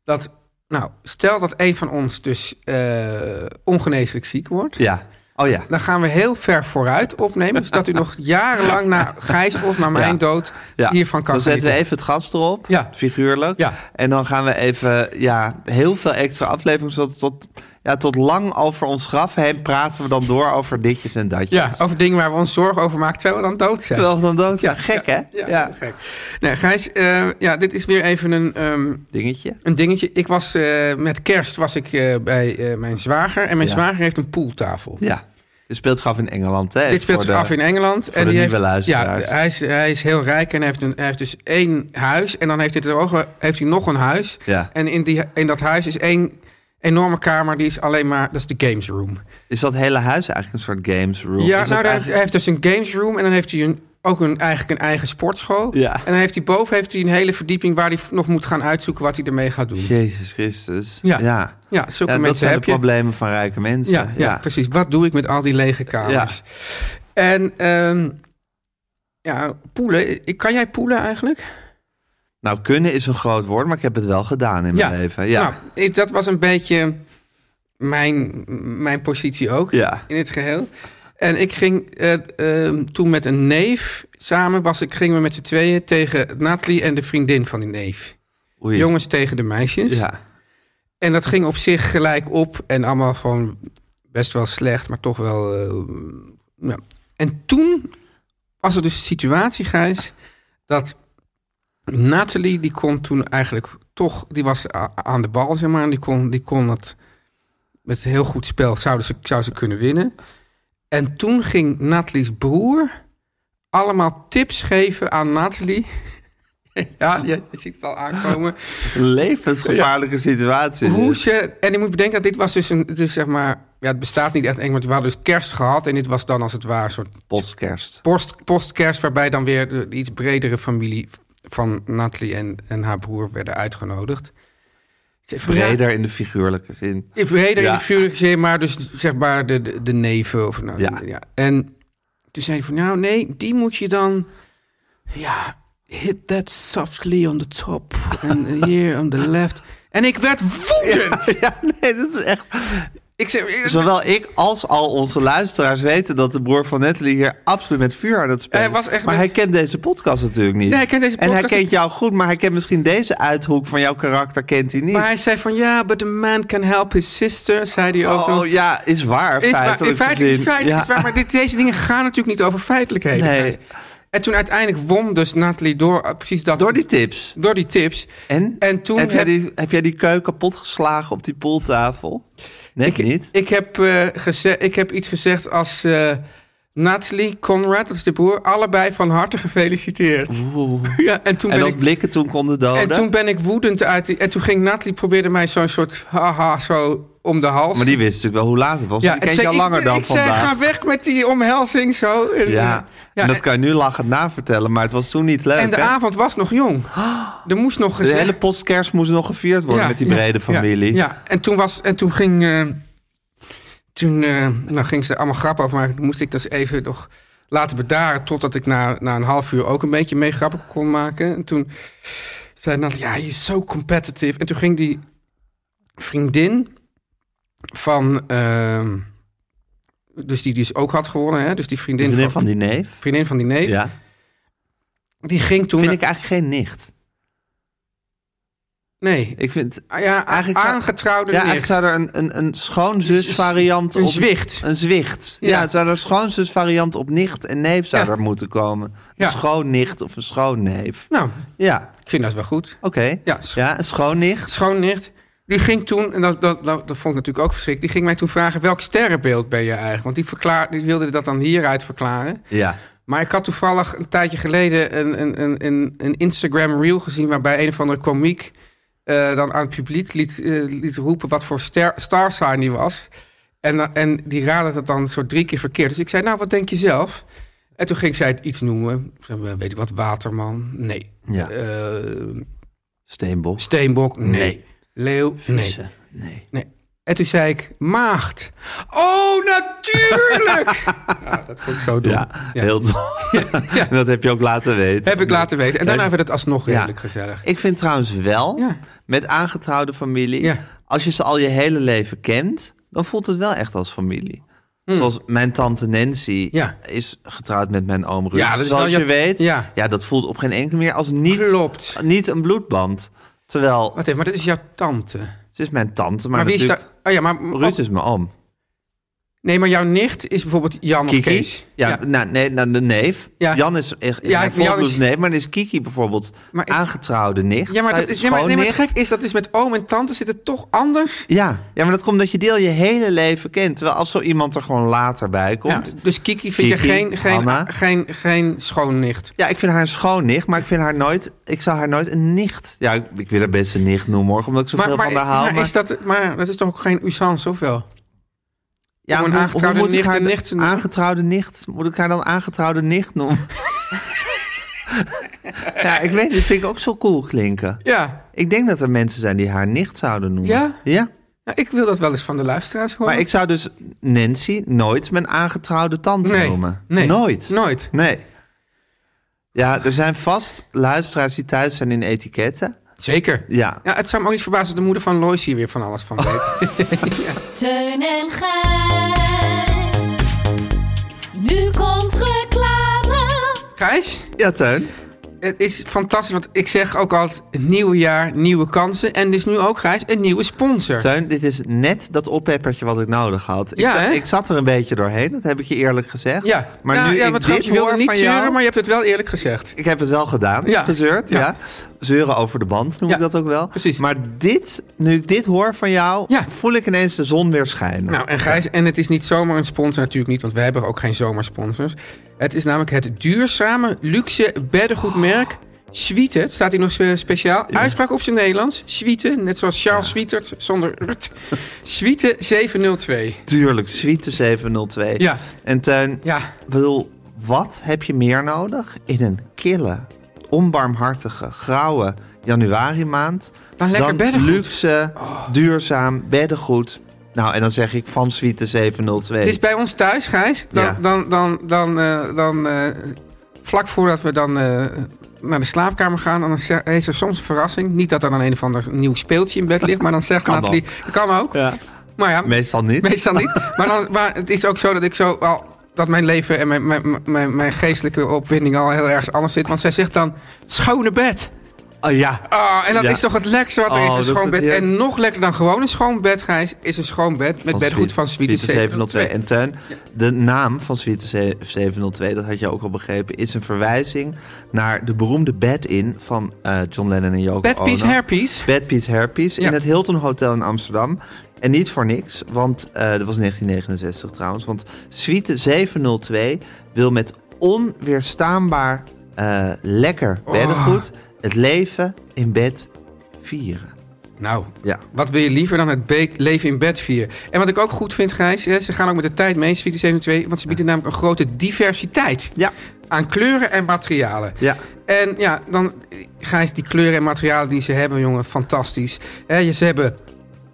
Dat, nou, stel dat een van ons dus eh, ongeneeslijk ziek wordt.
Ja. Oh ja.
Dan gaan we heel ver vooruit opnemen. Zodat u nog jarenlang na Gijs of naar mijn
Ja.
dood
Ja.
hiervan kan
Dan zetten we
genieten.
even het gas erop,
Ja.
figuurlijk.
Ja.
En dan gaan we even ja, heel veel extra afleveringen. Zodat tot, ja, tot lang over ons graf heen praten we dan door over ditjes en datjes.
Ja, over dingen waar we ons zorgen over maken terwijl we dan dood zijn.
Terwijl we dan dood zijn. Gek, hè?
Ja, heel gek. Nee, Gijs, eh, ja, dit is weer even een, ehm,
Dingetje.
een dingetje. Ik was, eh, met kerst was ik eh, bij eh, mijn zwager. En mijn
Ja.
zwager heeft een pooltafel.
Ja. Dit speelt zich af in Engeland, hè?
Dit speelt
Voor
zich
de-
af in Engeland.
de
die
nieuwe luisteraars.
Ja, hij is, hij is heel rijk en hij heeft, een, hij heeft dus één huis. En dan heeft hij, er ook, heeft hij nog een huis.
Ja.
En in, die, in dat huis is één enorme kamer. Die is alleen maar, dat is de games room.
Is dat hele huis eigenlijk een soort games room? Is
Ja,
dat
nou, daar
eigenlijk-
hij heeft dus een games room en dan heeft hij een, ook een, eigenlijk een eigen sportschool.
Ja.
En dan heeft hij boven heeft hij een hele verdieping waar hij v- nog moet gaan uitzoeken wat hij ermee gaat doen.
Jezus Christus.
Ja.
ja.
Ja, zulke
Ja, dat
mensen
zijn de
heb je.
problemen van rijke mensen.
Ja, ja, precies. Wat doe ik met al die lege kamers? En ehm, ja, poelen. Ik- Kan jij poelen eigenlijk?
Nou, kunnen is een groot woord, maar ik heb het wel gedaan in mijn leven. Ja.
Nou, ik- dat was een beetje mijn, mijn positie ook
ja.
in het geheel. En ik ging eh, ehm, toen met een neef samen, was ik, gingen we met z'n tweeën tegen Nathalie en de vriendin van die neef.
Oei.
Jongens tegen de meisjes.
Ja.
En dat ging op zich gelijk op en allemaal gewoon best wel slecht, maar toch wel. eh, ja. En toen was er dus een situatie, Gijs, dat Nathalie, die kon toen eigenlijk toch, die was a- aan de bal, zeg maar, en die kon, die kon het met heel goed spel, zouden ze, zou ze kunnen winnen. En toen ging Nathalie's broer allemaal tips geven aan Nathalie. Ja, je, je ziet het al aankomen.
Een levensgevaarlijke situatie.
Hoe
dit.
ze, en je moet bedenken dat dit was dus een, dus zeg maar, ja, het bestaat niet echt eng, maar we hadden dus kerst gehad en dit was dan als het ware een soort
Postkerst.
post, postkerst, waarbij dan weer de, de iets bredere familie van Natalie en, en haar broer werden uitgenodigd. Ze-
Breder in de figuurlijke zin.
Ja, breder in
Ja.
de vuurlijke zin, maar dus zeg maar de, de, de neven of nou,
Ja.
ja. En toen zei hij van, nou nee, die moet je dan, ja, hit that softly on the top en here on the left. En ik werd woedend.
Ja, nee, dat is echt.
Ik zei,
Zowel ik als al onze luisteraars weten dat de broer van Natalie hier absoluut met vuur aan het spelen.
Hij was echt
maar
met-
hij kent deze podcast natuurlijk niet.
Nee, hij kent deze
En hij
podcast
kent
niet.
jou goed, maar hij kent misschien deze uithoek van jouw karakter kent hij niet.
Maar hij zei van ja, but a man can help his sister, zei hij ook.
oh,
nog.
ja, is waar.
is waar, in
feitelijk
feite is
gezien.
feitelijk
Ja.
is waar, maar dit, deze dingen gaan natuurlijk niet over feitelijkheden.
Nee.
En toen uiteindelijk won dus Natalie door eh, precies dat.
Door die tips.
door die tips.
En,
En toen
heb, jij
heb-
die, heb jij die keuken kapot geslagen op die poeltafel? Net niet.
Ik heb, eh, geze- ik heb iets gezegd als eh Natalie, Conrad, dat is de broer, allebei van harte gefeliciteerd. Ja, en toen
En
ben
als
ik
blikken toen konden doden.
En toen ben ik woedend uit die... En toen ging Natalie probeerde mij zo'n soort haha zo om de hals.
Maar die wist natuurlijk wel hoe laat het was. die
ik
kent
zei,
jou
ik-
langer dan
ik
vandaag.
zei, ga weg met die omhelzing zo. En,
ja.
ja,
en dat
en-
kan je nu lachend navertellen, maar het was toen niet leuk.
en de
hè?
avond was nog jong. Er moest nog
de
gezegd-
hele postkerst moest nog gevierd worden
Ja,
met die
ja,
brede
ja,
familie.
Ja, En, toen was, en toen ging... eh, toen eh, nou, ging ze er allemaal grappen over maken. Toen moest ik dat even nog laten bedaren... totdat ik na, na een half uur ook een beetje mee grappen kon maken. En toen zei Nat, ja, je is zo competitive. En toen ging die vriendin van... eh, dus die dus ook had gewonnen, hè? Dus die vriendin,
Vriendin
van,
van die neef.
vriendin van die neef.
Ja.
Die ging toen...
Vind ik eigenlijk geen nicht.
nee,
Ik vind
Ah, ja,
Eigenlijk zou-
aangetrouwde
Ja,
nicht.
eigenlijk zou er een, een, een schoonzusvariant
Een
op...
zwicht.
Een zwicht. Ja,
Ja.
zou er een schoonzusvariant op nicht en neef zou
Ja.
er moeten komen.
Ja.
Een schoonnicht of een schoonneef.
Nou,
Ja,
ik vind dat wel goed.
oké.
Ja,
Ja, een schoonnicht.
schoonnicht. Die ging toen, en dat, dat, dat, dat vond ik natuurlijk ook verschrikkelijk... die ging mij toen vragen, welk sterrenbeeld ben je eigenlijk? Want die, verklaar, die wilde dat dan hieruit verklaren.
Ja.
Maar ik had toevallig een tijdje geleden een, een, een, een, een Instagram reel gezien... waarbij een of andere komiek eh, dan aan het publiek liet, eh, liet roepen... wat voor ster, star sign die was. En, dan- en die raadde dat dan zo drie keer verkeerd. Dus ik zei, nou, wat denk je zelf? En toen ging zij iets noemen. Ik zei, Weet ik wat, Waterman? Nee.
Ja.
Eh,
Steenbok.
Steenbok? Nee.
Nee.
Leeuw? Nee.
Vissen. Nee.
nee. En toen zei ik, maagd. Oh, natuurlijk! ja, dat vond ik zo dom.
Ja, heel tof. Dat heb je ook laten weten.
Heb ik laten weten. En daarna hebben we dat alsnog
Ja.
redelijk gezellig.
Ik vind trouwens wel,
Ja.
met aangetrouwde familie,
Ja.
als je ze al je hele leven kent, dan voelt het wel echt als familie. Zoals mijn tante Nancy
Hmm. Ja.
is getrouwd met mijn oom Ruud.
Ja, dat is
Zoals
wel
je
Jap-
weet,
ja.
dat voelt op geen enkele meer als niet,
Klopt.
niet een bloedband. Terwijl,
Wacht even, maar dat is jouw tante. Maar,
ze is mijn tante, maar,
wie is daar...
natuurlijk,
Oh ja, maar...
Ruud is mijn oom.
Nee, maar jouw nicht is bijvoorbeeld Jan of
Kiki?
Kees.
Ja, Nou, nee, nou, de neef.
Ja.
Jan is echt
Ja,
ja,
ik- Jan is-
neef, maar dan is Kiki bijvoorbeeld
Maar ik-
aangetrouwde nicht.
Ja, maar, dat is, nee, maar, nee, maar het
Schoonnicht.
gek is, dat is met oom en tante zit het toch anders.
Ja, ja, maar dat komt omdat je deel je hele leven kent. Terwijl als zo iemand er gewoon later bij
Ja,
komt. Ja,
dus Kiki vind
Kiki,
je geen, geen,
Hanna.
geen, geen, schoonnicht.
ik vind haar een schoonnicht, maar ik vind haar nooit. Ik zou haar nooit een nicht. Ja, ik, ik wil haar best een nicht noemen hoor, omdat ik zoveel
Maar, maar,
van haar hou.
maar,
maar-
is dat, maar dat is toch ook geen usance, of wel?
ja,
gewoon aangetrouwde
moet ik
nicht
haar
en
de-
nicht noemen?
Aangetrouwde nicht. Moet ik haar dan aangetrouwde nicht noemen? ja, ik weet, dat vind ik ook zo cool klinken.
Ja.
Ik denk dat er mensen zijn die haar nicht zouden noemen.
Ja?
Ja.
Nou, ik wil dat wel eens van de luisteraars horen.
Maar ik zou dus Nancy nooit mijn aangetrouwde tante
nee,
noemen.
Nee,
Nooit.
Nooit.
Nee. Ja, er zijn vast luisteraars die thuis zijn in etiketten.
Zeker.
Ja.
Ja, het zou me ook niet verbazen dat de moeder van Lois hier weer van alles van weet.
Teun en Gijs. Nu komt reclame.
Gijs?
Ja, Teun.
Het is fantastisch, want ik zeg ook altijd... het nieuwe jaar, nieuwe kansen. En dus nu ook, Gijs, een nieuwe sponsor.
Teun, dit is net dat oppeppertje wat ik nodig had. Ik,
Ja,
zat,
hè?
ik zat er een beetje doorheen, dat heb ik je eerlijk gezegd.
ja,
maar
ja,
nu
ja,
ik
wat
dit
je wilde
hoor
niet
van jou-
zeuren, maar je hebt het wel eerlijk gezegd.
Ik heb het wel gedaan,
Ja.
gezeurd, ja.
Ja.
Zeuren over de band noem
Ja,
ik dat ook wel.
precies.
Maar dit, nu ik dit hoor van jou,
Ja.
voel ik ineens de zon weer schijnen.
Nou, en Gijs, en het is niet zomaar een sponsor natuurlijk niet... want wij hebben ook geen zomersponsors. Het is namelijk het duurzame, luxe beddengoedmerk... Swieten, het staat hier nog eh, speciaal. Uitspraak op zijn Nederlands. Swieten, net zoals Charles Swietert, zonder rt. Swieten 702.
Tuurlijk, Suite 702.
Ja.
En Teun,
Ja,
Ik bedoel, wat heb je meer nodig in een kille, onbarmhartige, grauwe januari maand?
Dan lekker beddengoed. Oh.
luxe, duurzaam beddengoed. Nou, en dan zeg ik van Suite
Het
702.
is bij ons thuis, Gijs. Dan,
Ja.
dan, dan, dan, eh, dan eh, vlak voordat we dan eh, naar de slaapkamer gaan, dan ze- is er soms een verrassing. Niet dat er dan een of ander nieuw speeltje in bed ligt, maar dan zegt
Kan
Nathalie... Dat kan ook,
Ja.
maar ja,
Meestal niet.
meestal niet. Maar, dan, maar het is ook zo dat ik zo al... Dat mijn leven en mijn, mijn, mijn, mijn geestelijke opwinding al heel erg anders zit. Want zij zegt dan, schone bed.
Oh ja.
Ah, en dat
Ja.
is toch het lekkerste wat er
Oh,
is, een
dat
schoon
is-
bed.
ja.
En nog lekkerder dan gewoon een schoon bed, Gijs, is een schoon bed met bedgoed van Suite 702.
En Teun, de naam van Suite 702, dat had je ook al begrepen, is een verwijzing naar de beroemde bed-in van eh, John Lennon en Yoko
Bed piece,
Ono.
hairpiece.
Bad Piece Hairpiece
Ja.
in het Hilton Hotel in Amsterdam. En niet voor niks, want eh, dat was 1969 trouwens. Want Suite 702 wil met onweerstaanbaar eh, lekker
Oh.
beddengoed het leven in bed vieren.
Nou,
Ja.
wat wil je liever dan het be- leven in bed vieren? En wat ik ook goed vind, Gijs, hè, ze gaan ook met de tijd mee, Sweetie 72, want ze bieden namelijk een grote diversiteit
Ja.
aan kleuren en materialen.
Ja.
En ja, dan, Gijs, die kleuren en materialen die ze hebben, jongen, fantastisch. Hè, je- ze hebben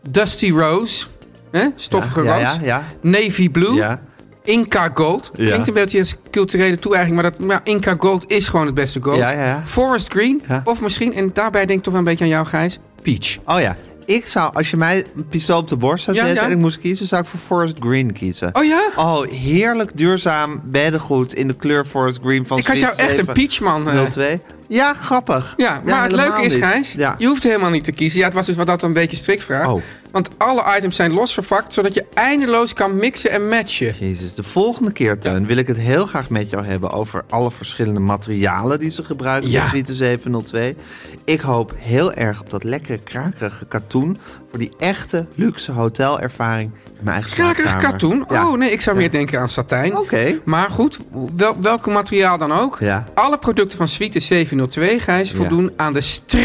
Dusty Rose, hè, stoffige
ja,
roos,
ja, ja.
Navy Blue,
Ja.
Inca Gold.
Ja.
Klinkt een beetje als culturele toe-eigening, maar dat, maar Inca Gold is gewoon het beste gold.
Ja, ja, ja.
Forest Green,
Ja.
of misschien, en daarbij denk ik toch wel een beetje aan jou, Gijs, Peach.
Oh ja, Ik zou, als je mij een pistool op de borst zou
Ja,
zetten
ja.
en ik moest kiezen, zou ik voor Forest Green kiezen.
Oh ja?
Oh, heerlijk duurzaam beddengoed in de kleur Forest Green van
Ik had jou
Zwitser
echt een
7
Peachman, eh.
02. Ja, grappig.
Ja, maar het
helemaal
leuke is,
niet.
Gijs,
Ja.
je hoeft helemaal niet te kiezen. Ja, het was dus wat dat een beetje strikvraag.
Oh.
Want alle items zijn losverpakt, zodat je eindeloos kan mixen en matchen.
Jezus, de volgende keer, Teun, wil ik het heel graag met jou hebben over alle verschillende materialen die ze gebruiken
Ja.
in Suite 702. Ik hoop heel erg op dat lekkere, krakerige katoen voor die echte luxe hotelervaring in mijn eigen
Krakerig
slaapkamer.
katoen?
Ja.
Oh nee, ik zou meer denken aan satijn.
Oké.
Maar goed, wel, welk materiaal dan ook.
Ja.
Alle producten van Suite 702, Gijs, voldoen aan de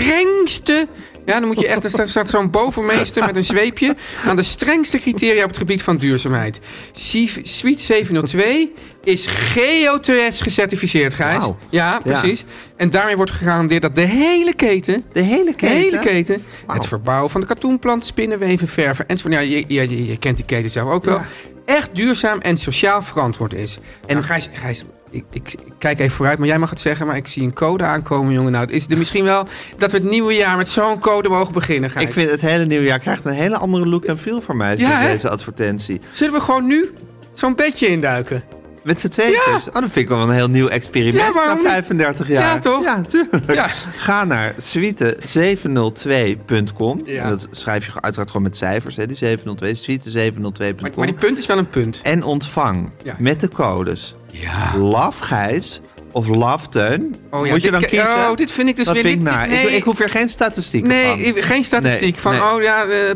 strengste... Ja, dan moet je echt... Er staat- staat zo'n bovenmeester met een zweepje. Aan de strengste criteria op het gebied van duurzaamheid. Sief- Suite 702 is GOTS gecertificeerd, Gijs.
Wauw.
Ja,
Ja.
precies. En daarmee wordt gegarandeerd dat de hele keten...
De hele
De
keten?
hele keten.
Wauw.
Het verbouwen van de katoenplant, spinnenweven, verven enzovoort. Ja, je, je, je, je kent die keten zelf ook wel. Echt duurzaam en sociaal verantwoord is. En nou, Gijs, Gijs ik, ik, ik kijk even vooruit, maar jij mag het zeggen. Maar ik zie een code aankomen, jongen. Nou, het is er misschien wel dat we het nieuwe jaar met zo'n code mogen beginnen, Gijs.
Ik vind het hele nieuwe jaar krijgt een hele andere look en feel voor mij
Ja,
sinds
hè?
deze advertentie.
Zullen we gewoon nu zo'n bedje induiken?
Met z'n tweeën.
Ja.
dus. Oh, dat vind ik wel een heel nieuw experiment
Ja, waarom
na
niet?
35 jaar.
Ja, toch?
Ja, tuurlijk.
Ja.
Ga naar suite702.com.
Ja.
En dat schrijf je uiteraard gewoon met cijfers, hè, die 702.
Maar,
Suite702.com.
maar die punt is wel een punt.
En ontvang
Ja.
met de codes
Ja.
LAF Gijs of LAF Teun.
Oh ja,
Moet je dan
dit-
kiezen?
oh, dit vind ik dus
Dat
weer
vind ik
niet-
naar.
nee.
Ik, ik hoef hier geen statistieken van.
Nee, geen statistiek
Nee,
van,
nee.
oh ja, eh,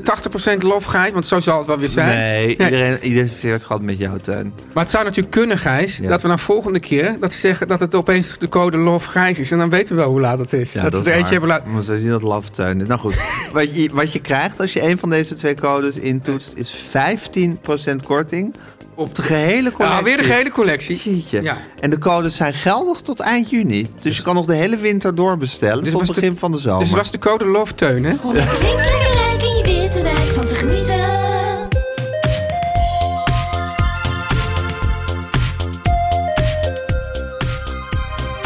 80% lofgeit, want zo zal het wel weer zijn.
Nee, iedereen identificeert gewoon met jou, Teun.
Maar het zou natuurlijk kunnen, Gijs,
Ja.
dat we dan volgende keer dat ze zeggen dat het opeens de code LOF Gijs is. En dan weten we wel hoe laat het is.
Ja,
dat, ze
is
er eentje
waar.
hebben laten.
Maar ze zien dat laftuin is. Nou goed, wat je, wat je krijgt als je een van deze twee codes intoetst... is 15% korting op de gehele collectie.
Nou, weer de gehele collectie.
Jeetje.
Ja.
En de codes zijn geldig tot eind juni. Dus, je kan nog de hele winter doorbestellen
Dus
tot
was de-
begin van de zomer.
Dus het was de code LOF Teun, hè?
Om lekker links, lekker rijk in je witte wijk van te genieten.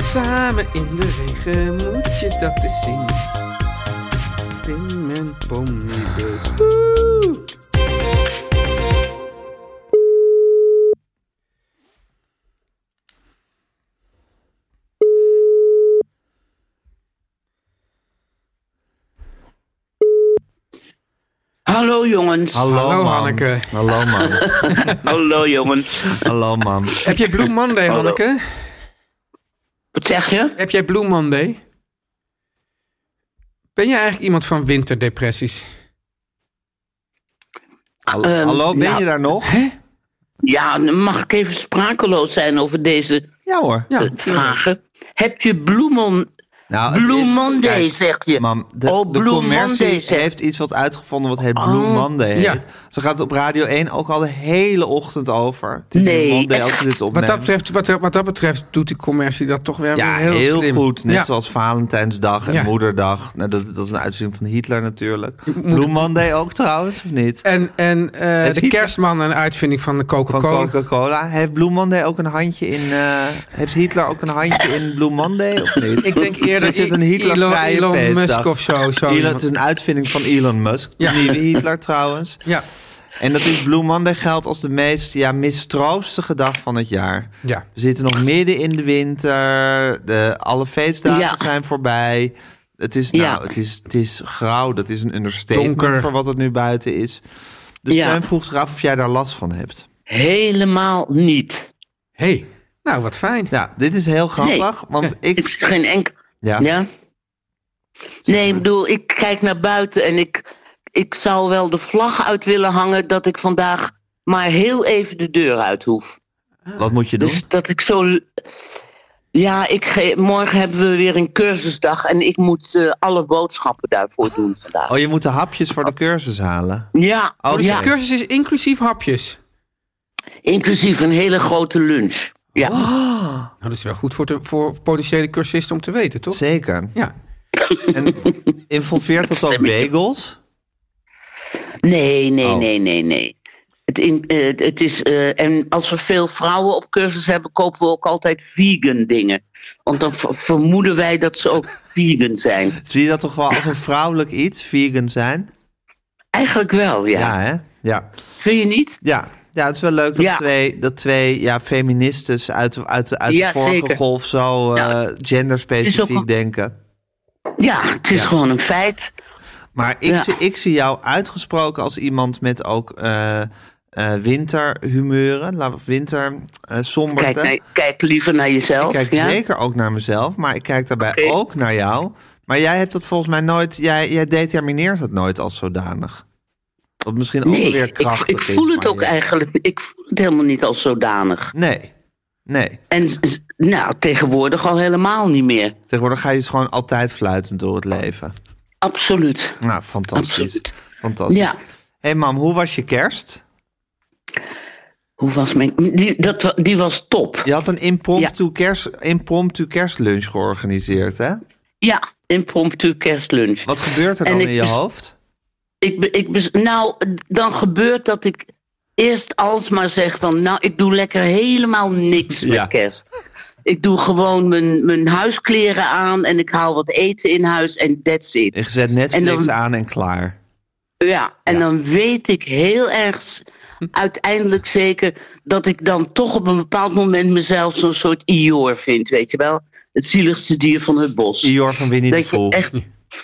Samen in de regen moet je dat eens zien. Pim en Pomnibus. Woe!
Hallo jongens.
Hallo,
Hallo,
mam.
Hanneke.
Hallo, man.
Hallo jongens.
Hallo, mam.
Heb jij Blue Monday,
Hallo.
Hanneke?
Wat zeg je?
Heb jij Blue Monday? Ben jij eigenlijk iemand van winterdepressies?
Hallo,
Ehm,
hallo, ben
nou.
je daar nog?
Ja, mag ik even sprakeloos zijn over deze
Ja hoor.
eh,
Ja.
vragen? Heb je Bloemon...
Nou, het
Blue
is-
Monday,
kijk,
zeg je.
Mam, de,
oh,
de
Blue
commercie
Monday, zeg.
heeft iets wat uitgevonden wat heet Blue
Oh.
Monday heet.
Ja.
Ze gaat het op Radio 1 ook al de hele ochtend over. Het is
Nee,
Blue Monday als
echt?
ze dit
Wat
opneemt.
dat, betreft, wat, wat dat betreft doet die commercie dat toch weer
ja,
heel,
heel,
slim.
goed. Net
Ja.
zoals Valentijnsdag en
Ja.
Moederdag. Nou, dat, dat is een uitzending van Hitler natuurlijk. Blue Monday ook trouwens, of niet?
En, en eh,
Het
de
Hitler-
kerstman een uitvinding van de
Van
Coca-Cola.
Coca-Cola. Heeft Blue Monday ook een handje in... eh, heeft Hitler ook een handje in Blue Monday, of niet?
Ik denk eerder
Er zit een
I-
Hitler
Elon, Elon Musk of zo. zo
Elon,
iemand.
het is een uitvinding van Elon Musk.
Ja.
De nieuwe Hitler trouwens.
ja,
En dat is Blue Monday geldt als de meest ja, mistroostige dag van het jaar.
ja.
We zitten nog midden in de winter. De, alle feestdagen
Ja.
zijn voorbij. Het is, nou,
Ja.
het, is, het is grauw. Dat is een understatement
Donker.
voor wat het nu buiten is. Dus
Ja.
Teun vroeg zich af of jij daar last van hebt.
Helemaal niet.
hey. nou wat fijn.
Ja, dit is heel grappig. Want ik...
Ik zie geen enkel...
ja.
Ja? Nee, ik bedoel, ik kijk naar buiten en ik, ik zou wel de vlag uit willen hangen dat ik vandaag maar heel even de deur uit hoef.
Wat moet je doen?
Dus dat ik zo. l- Ja, ik ge- morgen hebben we weer een cursusdag en ik moet eh, alle boodschappen daarvoor doen vandaag.
Oh, je moet de hapjes voor de cursus halen.
Ja,
Oh,
Dus
ja.
de cursus is inclusief hapjes.
inclusief een hele grote lunch. Ja,
Oh.
Nou, dat is wel goed voor, de, voor potentiële cursisten om te weten, toch?
Zeker.
Ja.
En involveert dat ook bagels?
nee, nee,
Oh.
nee, nee, nee. Het, in, eh, het is, eh, en als we veel vrouwen op cursus hebben, kopen we ook altijd vegan dingen. Want dan ver- vermoeden wij dat ze ook vegan zijn.
Zie je dat toch wel als een vrouwelijk iets, vegan zijn?
Eigenlijk wel, ja.
Ja, hè? Ja.
Vind je niet?
Ja. ja, het is wel leuk dat
Ja.
twee, dat twee ja, feministes uit, uit, uit
Ja,
de vorige
zeker.
golf zo eh,
Ja. Het is
genderspecifiek
ook-
denken.
Ja, het is gewoon een feit.
Maar ik,
Ja.
zie, ik zie jou uitgesproken als iemand met ook eh eh winterhumeuren, laat- of winter eh somberte.
Kijk, naar- kijk liever naar jezelf.
ik kijk
ja?
zeker ook naar mezelf, maar ik kijk daarbij
Oké.
ook naar jou. Maar jij hebt dat volgens mij nooit, jij, jij determineert dat nooit als zodanig. Wat misschien ook
Nee,
weer
ik,
krachtig
ik
is
voel het
van
ook
je.
eigenlijk. Ik voel het helemaal niet als zodanig.
Nee, nee.
En z- nou, tegenwoordig al helemaal niet meer.
Tegenwoordig ga je dus gewoon altijd fluitend door het leven.
Absoluut.
Nou, fantastisch.
Oh. Absoluut.
Fantastisch.
Ja.
hey mam, hoe was je kerst?
Hoe was mijn. Die, dat, wa- die was top.
Je had een impromptu,
Ja.
kerst, impromptu kerstlunch georganiseerd, hè?
Ja, impromptu kerstlunch.
Wat gebeurt er dan
En ik
in je
bes-
hoofd?
Ik, be- ik, bes- nou, dan gebeurt dat ik eerst alsmaar zeg van... nou, ik doe lekker helemaal niks
Ja.
met kerst. Ik doe gewoon mijn, mijn huiskleren aan en ik haal wat eten in huis en that's it.
Ik zet Netflix
En dan-
aan en klaar.
Ja, en dan weet ik heel erg uiteindelijk zeker... dat ik dan toch op een bepaald moment mezelf zo'n soort Ior vind, weet je wel? Het zieligste dier van het bos.
Ior van Winnie
dat
de
je
Pooh.
echt...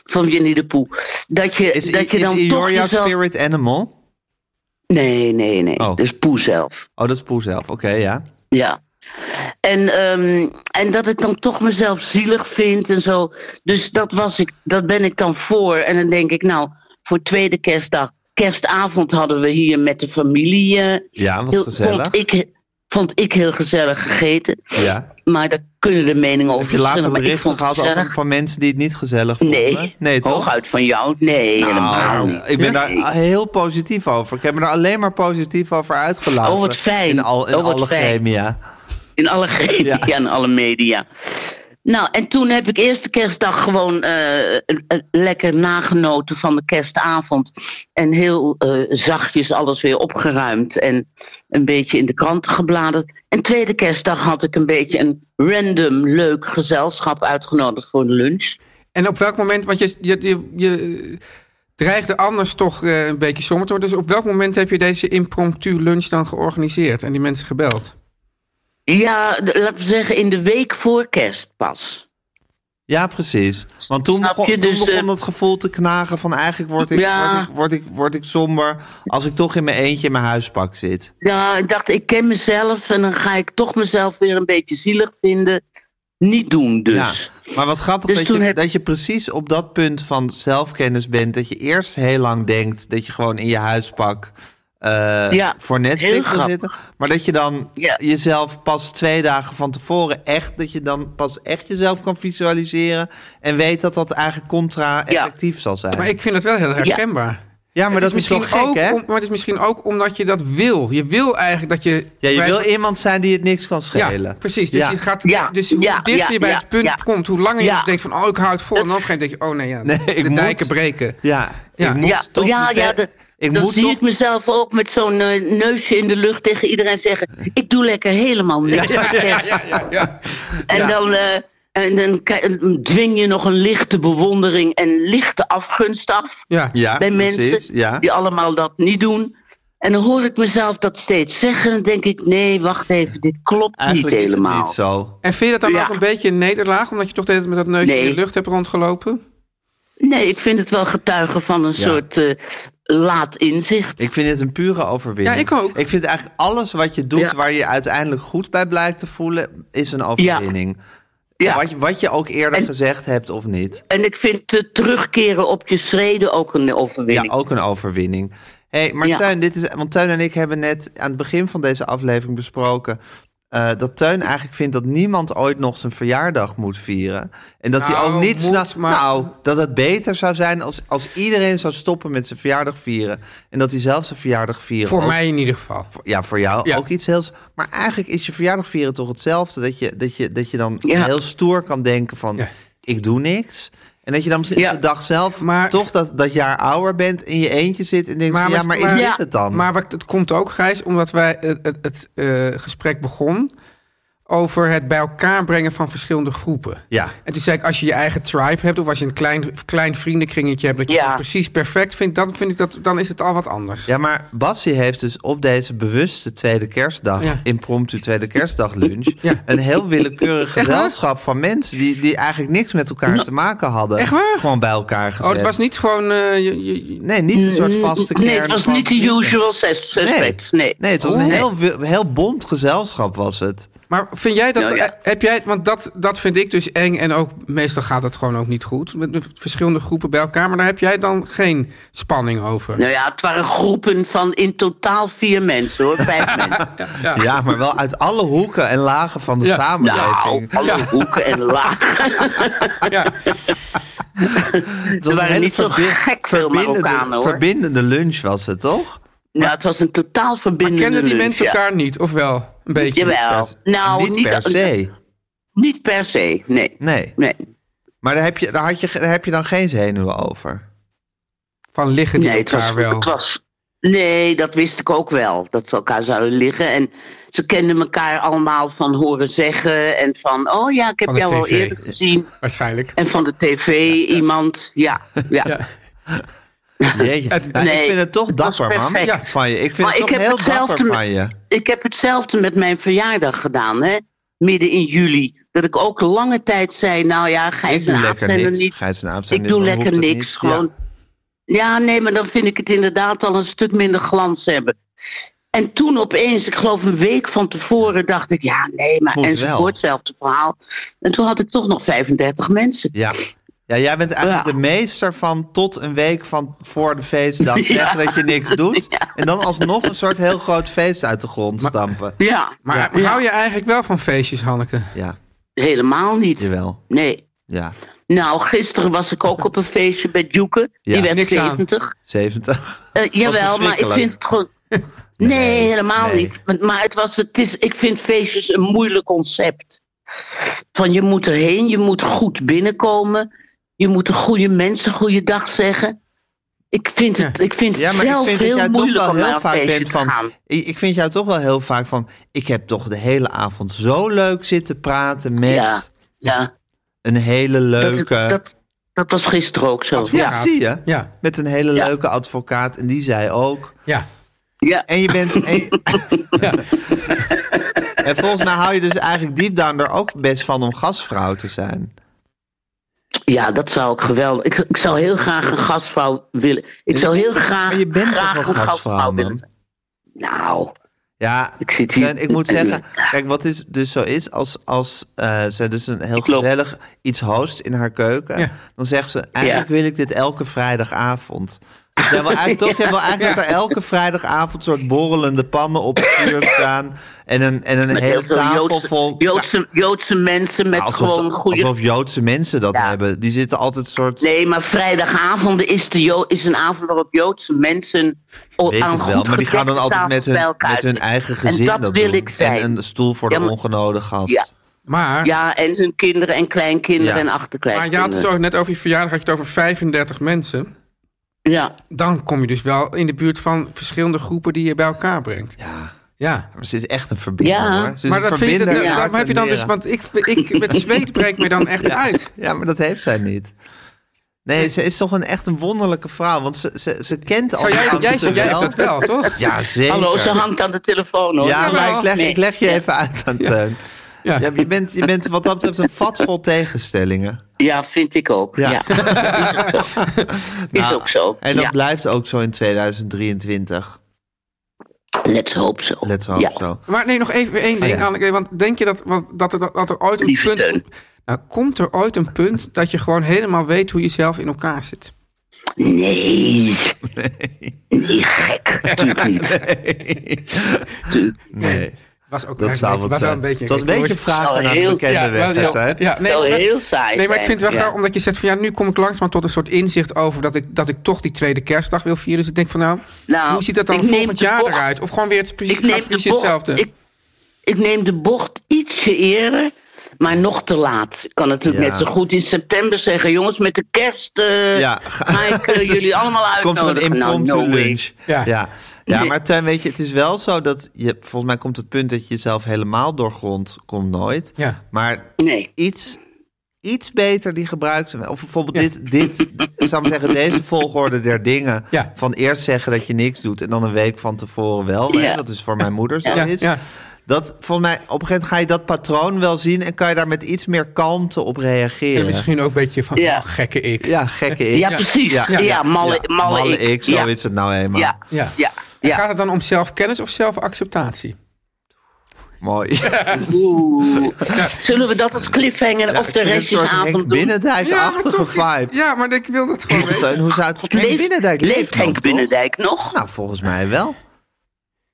Van Jenny de Poe. Dat je,
Is,
dat je
is
dan toch
Ior jouw
jezelf...
spirit animal?
Nee, nee, nee.
Oh.
Dat is Poe zelf.
Oh, dat is Poe zelf. Oké, ja.
Ja. En, ehm, en dat ik dan toch mezelf zielig vind en zo. Dus dat, was ik, dat ben ik dan voor. En dan denk ik, nou, voor tweede kerstdag. Kerstavond hadden we hier met de familie. eh,
Ja, was
heel-
gezellig.
Vond ik, vond ik heel gezellig gegeten.
Ja.
Maar daar kunnen de meningen over
Heb je later
verschillen, maar ik
berichten
vond het
gehad over,
gezellig.
van mensen die het niet gezellig vonden?
Nee,
toch?
hooguit van jou. Nee, helemaal
Nou,
niet.
ik ben
Nee.
daar heel positief over. Ik heb me daar alleen maar positief over uitgelaten.
Oh, wat fijn.
In, al, in
Oh, wat
alle
fijn.
gremia.
In alle media
Ja.
en alle media. Nou, en toen heb ik eerste kerstdag gewoon eh, eh, lekker nagenoten van de kerstavond. En heel eh, zachtjes alles weer opgeruimd en een beetje in de kranten gebladerd. En tweede kerstdag had ik een beetje een random leuk gezelschap uitgenodigd voor de lunch.
En op welk moment, want je, je, je, je dreigde anders toch eh, een beetje somber te worden. Dus op welk moment heb je deze impromptu lunch dan georganiseerd en die mensen gebeld?
Ja, de- laten we zeggen in de week voor kerst pas.
Ja, precies. Want toen
Snap
begon,
je? Dus,
toen begon
eh,
dat gevoel te knagen van eigenlijk word ik,
Ja.
word, ik, word, ik, word ik somber als ik toch in mijn eentje in mijn huispak zit.
Ja, ik dacht, ik ken mezelf en dan ga ik toch mezelf weer een beetje zielig vinden. Niet doen dus.
Ja. Maar wat grappig
Dus
dat, je,
toen heb-
dat je precies op dat punt van zelfkennis bent. Dat je eerst heel lang denkt dat je gewoon in je huispak eh,
Ja,
voor
heel
Netflix wil
grappig.
zitten. Maar dat je dan
Ja.
jezelf pas twee dagen van tevoren echt, dat je dan pas echt jezelf kan visualiseren. En weet dat dat eigenlijk contra-effectief zal zijn.
Maar ik vind dat wel heel herkenbaar.
ja, maar
Het
dat is misschien gek,
ook
hè?
om- maar het is misschien ook omdat je dat wil. Je wil eigenlijk dat je...
Ja, je
bij-
wil iemand zijn die het niks kan schelen.
Ja, precies. Dus,
Ja.
Je gaat,
Ja,
dus hoe
ja,
dichter je
ja,
bij
ja,
het punt
ja.
komt, hoe langer je
Ja.
denkt van, oh, ik hou het vol. En op een gegeven moment denk je, oh nee, ja,
Nee, ik
de
moet.
dijken breken.
Ja,
Ja.
ik moet
ja,
toch...
ja,
mijn
ja
ver-
de-
ik
dan
moet
zie
toch...
ik mezelf ook met zo'n eh, neusje in de lucht tegen iedereen zeggen: Ik doe lekker helemaal niks. aan kerst."
Ja, ja.
En dan. eh, en dan ki- dwing je nog een lichte bewondering en lichte afgunst af
ja.
Ja,
bij
precies.
mensen
ja.
die allemaal dat niet doen. En dan hoor ik mezelf dat steeds zeggen. Dan denk ik, nee, wacht even, dit klopt
Eigenlijk
niet
is
helemaal.
het niet zo.
En vind je dat dan
Ja.
ook een beetje een nederlaag, omdat je toch de hele tijd met dat neusje in
Nee.
de lucht hebt rondgelopen?
Nee, ik vind het wel getuige van een soort eh, laat inzicht.
Ik vind het een pure overwinning.
Ja, ik ook.
Ik vind eigenlijk alles wat je doet
Ja.
waar je uiteindelijk goed bij blijkt te voelen, is een overwinning.
Ja.
Wat, je, wat je ook eerder
En-
gezegd hebt of niet.
En ik vind het terugkeren op je schreden ook een
Ja,
overwinning.
ook een overwinning. Hé, hey, maar
Ja.
Teun, dit is, want Teun en ik hebben net aan het begin van deze aflevering besproken... eh, dat Teun eigenlijk vindt dat niemand ooit nog zijn verjaardag moet vieren. En dat hij
Nou,
ook niet
moet,
snapt...
maar-
Nou, dat het beter zou zijn als, als iedereen zou stoppen met zijn verjaardag vieren. En dat hij zelf zijn verjaardag vieren.
Voor
ook
mij in ieder geval.
ja, voor jou
Ja.
ook iets heel... Maar eigenlijk is je verjaardag vieren toch hetzelfde. Dat je, dat je, dat je dan
Ja.
heel stoer kan denken van...
Ja.
ik doe niks. En dat je dan misschien
Ja.
op de dag zelf
Maar-
toch dat, dat jaar ouder bent... in je eentje zit en denkt
Maar-
van, ja, maar is
maar-
dit
Ja.
het dan?
Maar wat- het komt ook, Gijs, omdat wij het, het, het, eh, gesprek begon over het bij elkaar brengen van verschillende groepen.
Ja.
En toen zei ik, als je je eigen tribe hebt... of als je een klein, klein vriendenkringetje hebt... dat je
Ja.
het precies perfect vindt... Dan, vind ik dat, dan is het al wat anders.
Ja, maar Bassie heeft dus op deze bewuste tweede kerstdag,
Ja.
impromptu tweede kerstdag lunch,
Ja.
een heel willekeurig
Echt waar?
gezelschap van mensen die, die eigenlijk niks met
Nou,
elkaar te maken hadden.
Echt waar?
Gewoon bij elkaar gezet.
oh, het was niet gewoon... eh, je- je- je-
Nee, niet een soort vaste kern.
Mm, Nee, het was
van
niet de
vrienden.
usual sus- suspects. Nee.
Nee, het was een
Oh.
heel, wi- heel bond gezelschap was het.
Maar vind jij dat... eh,
Nou ja.
Heb jij, want dat, dat vind ik dus eng... en ook meestal gaat dat gewoon ook niet goed... met de verschillende groepen bij elkaar... maar daar heb jij dan geen spanning over.
Nou ja, het waren groepen van in totaal vier mensen hoor. Vijf mensen.
Ja. maar wel uit alle hoeken en lagen van de
Ja.
Nou,
samenleving.
alle hoeken en lagen.
het was
er waren
een hele
niet zo
verbi-
gek veel
verbindende-
Marokkanen, hoor.
Verbindende lunch was het, toch?
Nou, het was een totaal verbindende
Kennen Ah, die
lunch,
mensen
ja.
elkaar niet, of wel? Een beetje.
Jawel.
Per-
Nou,
niet, per se.
Niet per se, nee.
Nee.
Nee,
Maar daar heb, je, daar, had je, daar heb je dan geen zenuwen over.
Van liggen die
nee het,
elkaar
was,
wel.
het was... Nee, dat wist ik ook wel. Dat ze elkaar zouden liggen. En ze kenden elkaar allemaal van horen zeggen. En van, oh ja, ik heb
Van de
jou al
TV.
eerder gezien.
Waarschijnlijk.
En van de tv iemand. Ja, ja.
Ja.
Jeetje.
Het-
Nou, ik
Nee,
vind het toch
het was
dapper, man.
perfect.
Ja. Van je. Ik vind het
Maar ik
toch
heb
heel
hetzelfde
dapper
met-
van je.
Ik heb hetzelfde met mijn verjaardag gedaan, hè. Midden in juli. Dat ik ook lange tijd zei, nou ja,
Ik
Gijs
doe
en Aaf
lekker
zijn er
niks.
niet.
Gijs en Aaf zijn
Ik
er
doe
niet, dan
lekker
hoeft het
niks.
niet. Ja.
Gewoon. Ja. nee, maar dan vind ik het inderdaad al een stuk minder glans hebben. En toen opeens, ik geloof een week van tevoren, dacht ik, ja, nee, maar
Moet wel.
enzovoort, hetzelfde verhaal. En toen had ik toch nog 35 mensen.
Ja. Ja, jij bent eigenlijk
Ja.
de meester van tot een week van voor de feestdag zeggen dat je niks doet. En dan alsnog een soort heel groot feest uit de grond stampen.
Ja,
Maar hou je eigenlijk wel van feestjes, Hanneke?
Ja,
helemaal niet.
jawel.
Nee.
Ja,
Nou, gisteren was ik ook op een feestje bij Duke.
Ja.
Die werd
Niks aan.
70.
70.
Eh, jawel, maar ik
verschrikkelijk.
vind het gewoon. Nee, helemaal
nee.
niet. Maar- Maar het was, het is, ik vind feestjes een moeilijk concept. Van je moet erheen, je moet goed binnenkomen. Je moet de goede mensen goede dag zeggen. Ik vind het, ik vind
Ja,
het
maar
zelf
ik vind dat
heel
jij toch
moeilijk
wel
om naar
heel
een
vaak
feestje
bent
te
van.
gaan.
Ik, ik vind jou toch wel heel vaak van. Ik heb toch de hele avond zo leuk zitten praten met
Ja, ja.
een hele
Dat,
leuke.
dat, dat was gisteren ook zo.
Wat-
ja, zie je?
Ja.
Met een hele
Ja.
leuke advocaat. En die zei ook.
Ja.
Ja,
En je bent. En, je- en volgens mij hou je dus eigenlijk deep down er ook best van om gastvrouw te zijn.
ja, dat zou ik geweldig. Ik, ik zou heel graag een gastvrouw willen. Ik zou heel graag,
maar je bent toch
graag
wel
een gastvrouw,
gastvrouw,
willen
man?
zijn. Nou,
Ja,
Ik zit hier-
Teun, ik moet zeggen, kijk, wat is dus zo is, als, als eh, zij dus een heel
Klopt.
gezellig iets host in haar keuken,
Ja.
dan zegt ze, eigenlijk
Ja.
wil ik dit elke vrijdagavond. Dus jij wil eigenlijk, toch, jij wil eigenlijk dat er elke vrijdagavond een soort borrelende pannen op het vuur staan en een, en een
Met
hele
heel veel
tafel
Joodse,
vol...
Joodse, Joodse mensen met
Ja, alsof,
gewoon goede.
alsof Joodse mensen dat
Ja.
hebben. Die zitten altijd een soort...
Nee, maar vrijdagavonden is, de Jo- is een avond waarop Joodse mensen o-
Weet
aan
ik
een
wel,
goed
maar die gaan dan
gedekte
altijd met
tafel
hun,
bij elkaar
met hun
zitten.
eigen gezin
En dat, wil
doen.
ik zijn.
En een stoel voor
Ja,
de
maar-
ongenode gast.
Ja.
Maar,
Ja, en hun kinderen en kleinkinderen
Ja.
maar
en
je had
achterkleinkinderen.
het zo net over je verjaardag, had je het over 35 mensen.
Ja,
Dan kom je dus wel in de buurt van verschillende groroepen die je bij elkaar brengt. Ja. Ja.
Maar ze is echt een verbinder,
Ja.
hoor. Ze is
Maar
een
dat vind je, dat,
verbinder.
ja.
en
daarom heb je dan dus,
hart en
want ik, ik, het zweet breekt me dan echt uit.
nieren. Ja, maar dat heeft zij niet. Nee, ze is toch een, echt een wonderlijke vrouw. Want ze, ze, ze kent al
Zou
die
jij, jij,
ambten
jij, hebt dat wel, toch?
Ja, zeker.
hallo, ze hangt aan de telefoon hoor.
Ja, maar ik leg,
Nee.
ik leg je even uit aan Teun.
Ja.
Ja, je, bent, je bent wat dat betreft een vat vol tegenstellingen.
Ja, vind ik ook.
Ja. Nou,
Ja. Is ook zo. Is ook zo.
En dat
ja.
blijft ook zo in 2023.
Let's hope so.
Let's hope
ja.
zo.
Maar nee, nog even één ding,
Oh, ja.
Anneke. Want denk je dat, want- dat, er, dat er ooit een
Lieve
punt...
Teun.
Nou, komt er ooit een punt dat je gewoon helemaal weet hoe je zelf in elkaar zit?
Nee. Nee. gek. Natuurlijk niet.
Nee,
Was ook
dat zou wat
eigenlijk- was wel
zijn.
een beetje
Het was een beetje vragen
Zou
naar de
heel-
bekende
Ja,
weg,
wel-
hè, Teun?
ja, nee,
Zou
maar-
heel saai
Nee, maar ik
zijn.
vind het wel
Ja.
graag omdat je zegt van ja, nu kom ik langzaam tot een soort inzicht over dat ik, dat ik toch die tweede kerstdag wil vieren. Dus ik denk van nou,
Nou,
hoe ziet dat dan
ik neem
volgend
de
jaar
bocht.
eruit? Of gewoon weer het precies,
ik neem
gaat
de bocht,
precies hetzelfde.
Ik, ik neem de bocht ietsje eerder, maar nog te laat. Ik kan natuurlijk
Ja.
net zo goed in september zeggen: jongens, met de kerst eh,
Ja.
ga ik eh, jullie allemaal
Komt
uitnodigen.
er een impromptu
nou, no way.
lunch.
Ja.
Ja. Ja. Ja, maar Teun, weet je, het is wel zo dat je, volgens mij komt het punt dat je jezelf helemaal doorgrond komt nooit.
Ja.
Maar
Nee.
iets, iets beter die gebruikt. Of bijvoorbeeld dit, dit, zou ik maar zeggen, deze volgorde der dingen.
Ja.
Van eerst zeggen dat je niks doet en dan een week van tevoren wel. hè,
Ja.
Dat is voor mijn moeder zo
Ja,
is.
ja.
Dat, volgens mij, op een gegeven moment ga je dat patroon wel zien en kan je daar met iets meer kalmte op reageren.
En misschien ook een beetje van,
Ja.
oh, gekke ik.
Ja, gekke ik.
Ja, precies.
Ja,
Ja,
ja,
malle,
Ja,
malle, ik.
zo
ja.
is het nou eenmaal.
Ja.
Ja.
Ja.
En
Ja.
Gaat het dan om zelfkennis of zelfacceptatie?
Mooi.
Oeh. Zullen we dat als cliffhanger
Ja,
of de
ik vind het een soort Henk
restjesavond doen?
Binnendijk-achteige
iets-
vibe.
ja, maar ik wil dat gewoon weten.
Teun, hoe zou het... Henk
Leeft-
Binnendijk
leeft
leeft nog,
Henk
toch?
Binnendijk nog?
Nou, volgens mij wel.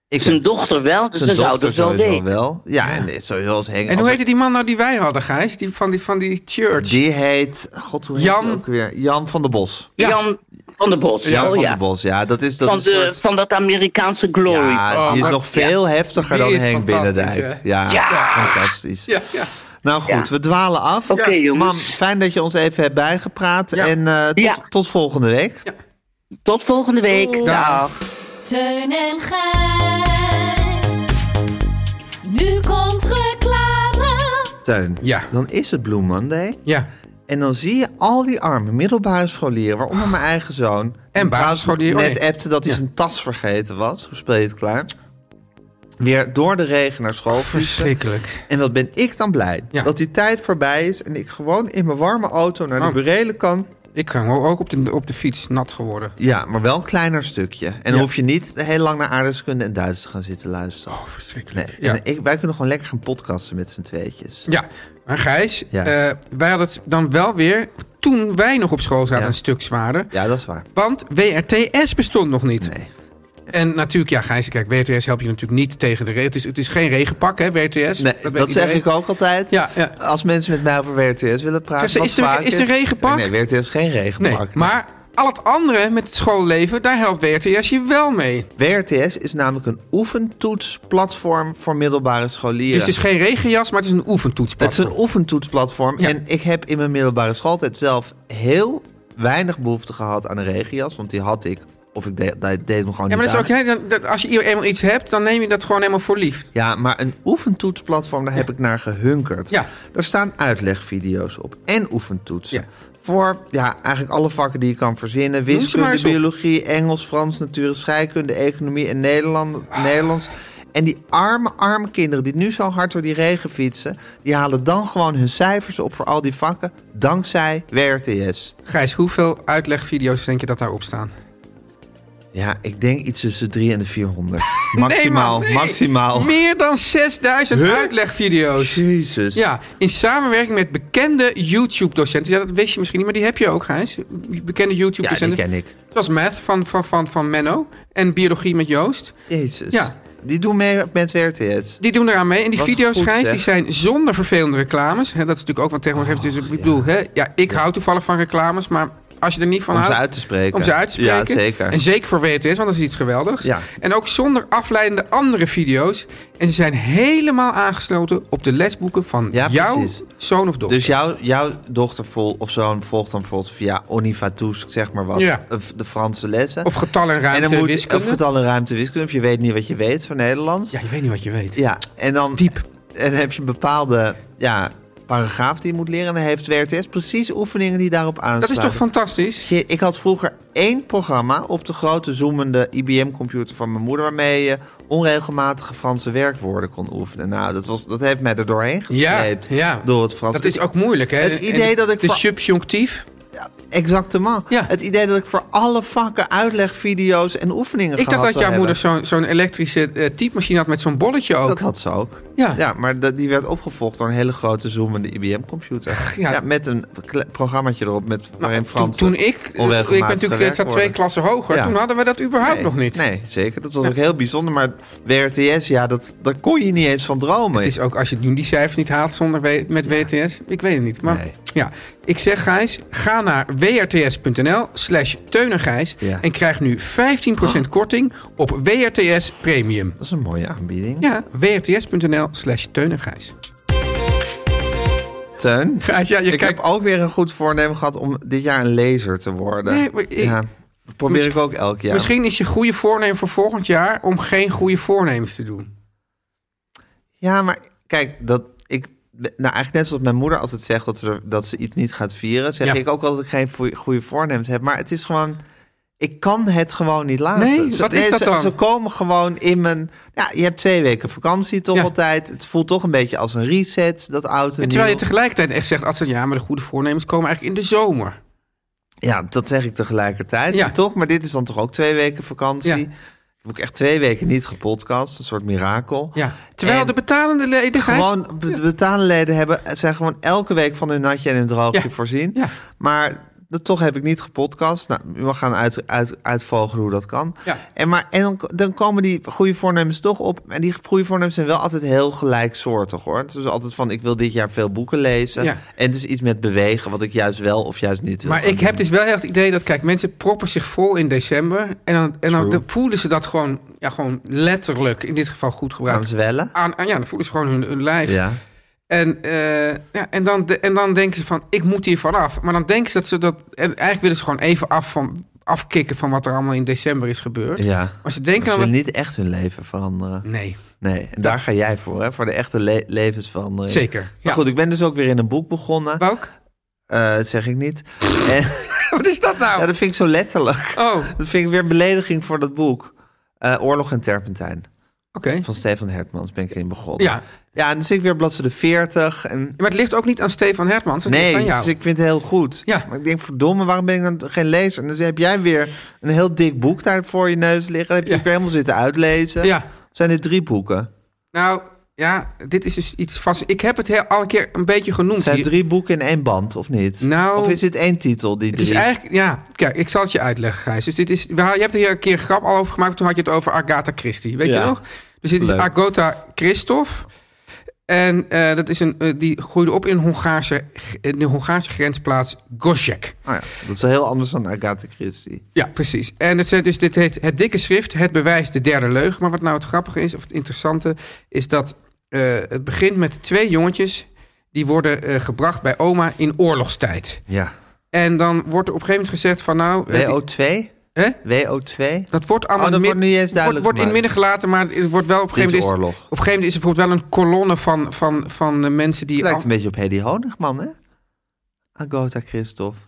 Ik
zijn dochter wel, dus
zijn
dan zou
dochter
dat wel
sowieso
weten.
wel. Ja, en sowieso als Henk...
En
als
hoe heette die man nou die wij hadden, Gijs? Die van die, van die church.
Die heet... God, hoe heet
Jan-
die ook weer? Jan van der Bos.
Ja.
Jan van der Bos.
Jan
oh,
van
ja.
der Bos, ja. Dat is, dat
van,
is een
de,
soort...
van dat Amerikaanse glory.
Ja,
Oh,
die is
maar-
nog veel heftiger
Die
dan
is
Henk
fantastisch,
Binnendijk.
hè?
Ja,
Ja.
fantastisch.
Ja, ja.
Nou goed,
Ja.
we dwalen af.
Oké,
Ja.
jongens.
Mam, fijn dat je ons even hebt bijgepraat.
Ja.
En eh, tot,
Ja.
tot volgende week.
Tot volgende week. Dag.
Teun en Gijs. Nu komt reclame.
Teun,
Ja.
dan is het Blue Monday.
ja.
En dan zie je al die arme middelbare scholieren, waaronder mijn eigen zoon. die
En basisschoolier,
trouwens Net
oh nee.
appte dat hij
Ja.
zijn tas vergeten was. Hoe speel je het klaar? Weer door de regen naar school. fietsen.
Verschrikkelijk.
En wat ben ik dan blij
Ja.
dat die tijd voorbij is en ik gewoon in mijn warme auto naar de
Oh.
burelen kan.
Ik kan wel ook op de, op de fiets nat geworden.
Ja, maar wel een kleiner stukje. En dan
Ja.
hoef je niet heel lang naar aardrijkskunde en Duits te gaan zitten luisteren.
verschrikkelijk.
Nee,
Oh, Ja.
en ik, wij kunnen gewoon lekker gaan podcasten met z'n tweetjes.
Ja, maar Gijs,
Ja.
eh, wij hadden het dan wel weer, toen wij nog op school zaten,
Ja.
een stuk zwaarder.
Ja, dat is waar.
Want WRTS bestond nog niet.
Nee.
En natuurlijk, ja Gijs, kijk, WRTS help je natuurlijk niet tegen de regen. Het is, het is geen regenpak, hè, WRTS.
Nee, dat
weet
zeg
iedereen.
ik ook altijd.
Ja, ja.
Als mensen met mij over WRTS willen praten.
Zeg ze,
wat
is er-
vaak
is er regenpak?
Nee, WRTS is geen
Nee,
regenpak. Nee.
maar al het andere met het schoolleven, daar helpt WRTS je wel mee.
WRTS is namelijk een oefentoetsplatform voor middelbare scholieren.
Dus het is geen regenjas, maar het is een
Het is
oefentoetsplatform.
een oefentoetsplatform.
Ja.
En ik heb in mijn middelbare schooltijd zelf heel weinig behoefte gehad aan een regenjas. Want die had ik. Of ik deed, deed hem gewoon niet
Ja, maar dat is
aan.
ook, hè, dat- dat- als je hier eenmaal iets hebt, dan neem je dat gewoon helemaal voor lief.
Ja, maar een oefentoetsplatform, daar heb ik naar gehunkerd.
Ja.
Daar staan uitlegvideo's op en oefentoetsen.
Ja.
Voor ja, eigenlijk alle vakken die je kan verzinnen.
ze maar
Wiskunde,
eens op.
biologie, Engels, Frans, natuur, scheikunde, economie en Nederland,
Ah.
Nederlands. En die arme, arme kinderen die nu zo hard door die regen fietsen... die halen dan gewoon hun cijfers op voor al die vakken... dankzij WRTS.
Gijs, hoeveel uitlegvideo's denk je dat daarop staan?
Ja, ik denk iets tussen de 300 en de 400. Maximaal,
Nee, man, nee.
maximaal. Oh,
Meer dan 6000 uitlegvideo's.
Jezus.
Ja, in samenwerking met bekende YouTube-docenten. Ja, dat wist je misschien niet, maar die heb je ook, Gijs. Bekende
ja, die
YouTube-docenten.
ken ik.
Zoals Math van, van, van, van Menno en Biologie met Joost.
Jezus.
Ja.
Die doen mee met WRTS.
Die doen eraan mee. En die
Wat
video's,
goed,
Gijs,
zeg.
die zijn zonder vervelende reclames. Hè, dat is natuurlijk ook wat tegenwoordig heeft.
Oh,
Dus ik bedoel, hè, ja, ik hou toevallig van reclames, maar als je er niet van
Om ze
houdt...
uit te spreken.
Om ze uit te spreken.
Ja, zeker.
En zeker voor WTS, want dat is iets geweldigs.
Ja.
En ook zonder afleidende andere video's. En ze zijn helemaal aangesloten op de lesboeken van
Ja,
jouw
precies.
zoon of dochter.
Dus jouw, jouw dochter vol, of zoon volgt dan bijvoorbeeld via Onivatusk, zeg maar wat,
Ja.
eh, de Franse lessen.
of getallen en
en
ruimte
dan moet
wiskunde.
of getallen ruimte wiskunde, of je weet niet wat je weet van Nederlands.
Ja, je weet niet wat je weet.
Ja, en dan,
Diep.
En dan heb je een bepaalde ja, paragraaf die je moet leren. En dan heeft WRTS precies oefeningen die daarop
dat
aansluiten.
is toch fantastisch?
Je- Ik had vroeger één programma op de grote zoemende IBM-computer van mijn moeder... waarmee je onregelmatige Franse werkwoorden kon oefenen. Nou, dat, was, dat heeft mij er doorheen
Ja,
gesleept
ja.
door het Frans.
Dat is ook moeilijk, hè?
Het
En
idee dat ik
De
van-
subjunctief.
Exactement.
Ja.
Het idee dat ik voor alle vakken uitlegvideo's en oefeningen
Ik dacht
gehad
dat
zou
jouw
hebben.
moeder zo'n zo'n elektrische eh, typemachine had met zo'n bolletje ook.
Dat had ze ook.
Ja.
maar dat- die werd opgevolgd door een hele grote zoemende IBM-computer. Ja.
Ja.
met een kle- programmaatje erop met, waarin
toen,
Frans
toen ik, ik ben natuurlijk ik zat twee klassen hoger,
Ja.
toen hadden we dat überhaupt
Nee,
nog niet.
Nee, zeker. Dat was ook heel bijzonder. Maar WRTS, ja, dat, daar kon je niet eens van dromen.
Het is ook als je nu die cijfers niet haalt zonder w- met WTS. Ik weet het niet. Maar
Nee.
ja, ik zeg Gijs, ga naar wrts.nl slash teunengijs
Ja. Oh.
en krijg nu 15% korting op WRTS Premium.
Dat is een mooie aanbieding.
Ja, wrts.nl slash teunengijs.
Teun,
Gijs, ja, je
ik
kijkt...
heb ook weer een goed voornemen gehad om dit jaar een lezer te worden.
Nee, maar ik-
ja. Dat probeer ik ook elk jaar.
Misschien is je goede voornemen voor volgend jaar om geen goede voornemens te doen.
Ja, maar kijk, dat ik. Nou, eigenlijk net zoals mijn moeder altijd zegt dat ze, er- dat ze iets niet gaat vieren, zeg
Ja.
ik ook altijd dat ik geen goe- goede voornemens heb. Maar het is gewoon. Ik kan het gewoon niet laten.
Nee,
Ze-
wat is dat
ze,
dan?
Ze komen gewoon in mijn. Ja, je hebt twee weken vakantie toch
Ja.
altijd. Het voelt toch een beetje als een reset, dat oud en,
En terwijl
nieuw.
je tegelijkertijd echt zegt, als ja, maar de goede voornemens komen eigenlijk in de zomer.
Ja, dat zeg ik tegelijkertijd.
Ja.
Toch? Maar dit is dan toch ook twee weken vakantie.
Ja.
Ik heb ook echt twee weken niet gepodcast. Een soort mirakel.
Ja. Terwijl
En-
de betalende ledigheid...
Gewoon be- de betalende leden hebben, zijn gewoon elke week van hun natje en hun droogje
Ja.
voorzien.
Ja.
Maar dat, toch heb ik niet gepodcast. Nou, we gaan uit, uit, uitvogelen hoe dat kan.
Ja.
En, maar, en dan, dan komen die goede voornemens toch op. En die goede voornemens zijn wel altijd heel gelijksoortig hoor. Het is dus altijd van ik wil dit jaar veel boeken lezen.
Ja.
En het is iets met bewegen, wat ik juist wel of juist niet wil.
Maar
gaan
ik heb
doen.
dus wel heel erg het idee dat, kijk, mensen proppen zich vol in december. En dan, en dan
True.
dan voelen ze dat gewoon, ja, gewoon letterlijk, in dit geval goed
Gaan
gebruikt.
zwellen.
Aan, aan- ja, dan voelen ze gewoon hun, hun lijf.
Ja.
En, eh, ja, en, dan, de- en dan denken ze van, ik moet hier vanaf. Maar dan denken ze dat ze dat... En eigenlijk willen ze gewoon even af van, afkicken van wat er allemaal in december is gebeurd.
ja.
Maar ze
Ze
denken dan...
willen
wel-
niet echt hun leven veranderen.
Nee,
Nee, en daar ga jij voor, hè? Voor de echte le- levensverandering.
Zeker,
Maar
ja.
goed, ik ben dus ook weer in een boek begonnen.
Bouk?
Eh, dat zeg ik niet. En,
Wat is dat nou?
ja, dat vind ik zo letterlijk.
Oh, oké.
Dat vind ik weer belediging voor dat boek. Eh, Oorlog en Terpentijn van Stefan Hertmans ben ik in begonnen.
Ja.
ja, en dus ik weer bladzijde 40. En...
Maar het ligt ook niet aan Stefan Hertmans, het ligt
Nee,
aan jou.
dus ik vind het heel goed.
Ja.
Maar ik denk, verdomme, waarom ben ik dan geen lezer? En dan heb jij weer een heel dik boek daar voor je neus liggen. Dat heb je
Ja.
ook weer helemaal zitten uitlezen.
Ja.
Zijn dit drie boeken?
Nou, ja, dit is dus iets vast. Ik heb het heel, al een keer een beetje genoemd.
Zijn
hier.
drie boeken in één band, of niet?
Nou,
of is dit één titel? Die
Het is
drie?
eigenlijk, ja, kijk, ik zal het je uitleggen, Gijs. Dus dit is, we ha- je hebt er hier een keer een grap al over gemaakt. Toen had je het over Agatha Christie, weet
Ja.
je nog? Dus dit is
Leuk.
Agatha Christoph. En eh, dat is een, eh, die groeide op in, Hongaarse, in de Hongaarse grensplaats Gosjek.
Ah ja, dat is wel heel anders dan Agatha Christie.
Ja, precies. En het, zijn dus, dit heet Het Dikke Schrift, Het Bewijs, De Derde Leugen. Maar wat nou het grappige is, of het interessante, is dat eh, het begint met twee jongetjes... die worden eh, gebracht bij oma in oorlogstijd.
Ja.
En dan wordt er op een gegeven moment gezegd van nou... eh, die-
WO2?
hè?
WO2?
Dat wordt allemaal
Oh, dat
min-
wordt nu eens duidelijk
wordt, wordt in het
gemaakt.
midden gelaten, maar het wordt wel op een
Dit is
gegeven moment... is-
oorlog.
Op een gegeven moment is er bijvoorbeeld wel een kolonne van, van, van eh, mensen
Het
die...
lijkt
af-
een beetje op Hedy Honigman, hè? Agatha Christophe.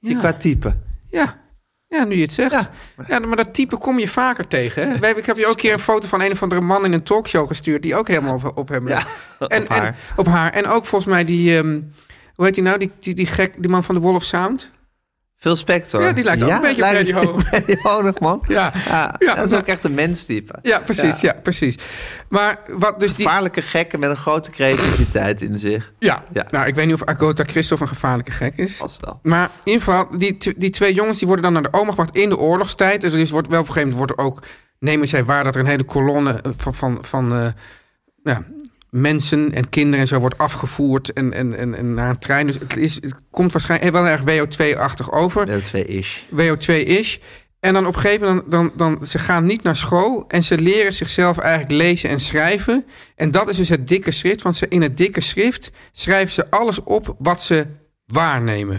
Die
Ja.
qua type.
Ja. ja, nu je het zegt. Ja.
Ja.
maar dat type kom je vaker tegen. Hè? Wij- Ik heb je ook een keer een foto van een of andere man in een talkshow gestuurd... die ook helemaal op, op hem
Ja,
lijkt. en,
op
En,
haar.
op haar. En ook volgens mij die... ehm, hoe heet die nou? Die, die, die gek, die man van de Wolf Sound?
Veel Spector.
Ja, die lijkt ook een beetje op
lijkt
Hedy Honigman.
Hedy Honigman.
Ja.
Ja,
Ja,
dat is
nou-
ook echt een menstype.
Ja, precies. Ja, precies. Maar wat dus die...
Gevaarlijke gekken met een grote creativiteit in zich.
Ja.
Ja.
nou, ik weet niet of Agota Christophe een gevaarlijke gek is.
Als wel.
Maar in ieder geval, die, tw- die twee jongens die worden dan naar de oma gebracht in de oorlogstijd. Dus, er is- wordt wel op een gegeven moment wordt er ook, nemen zij waar dat er een hele kolonne eh, van, van, van eh, nou ja, mensen en kinderen en zo wordt afgevoerd en, en, en, en naar een trein. Dus het, is, het komt waarschijnlijk wel erg WO2-achtig over.
WO2-ish.
WO2-ish. En dan op een gegeven moment, dan, dan, dan, ze gaan niet naar school en ze leren zichzelf eigenlijk lezen en schrijven. En dat is dus het dikke schrift, want ze, in het dikke schrift schrijven ze alles op wat ze waarnemen.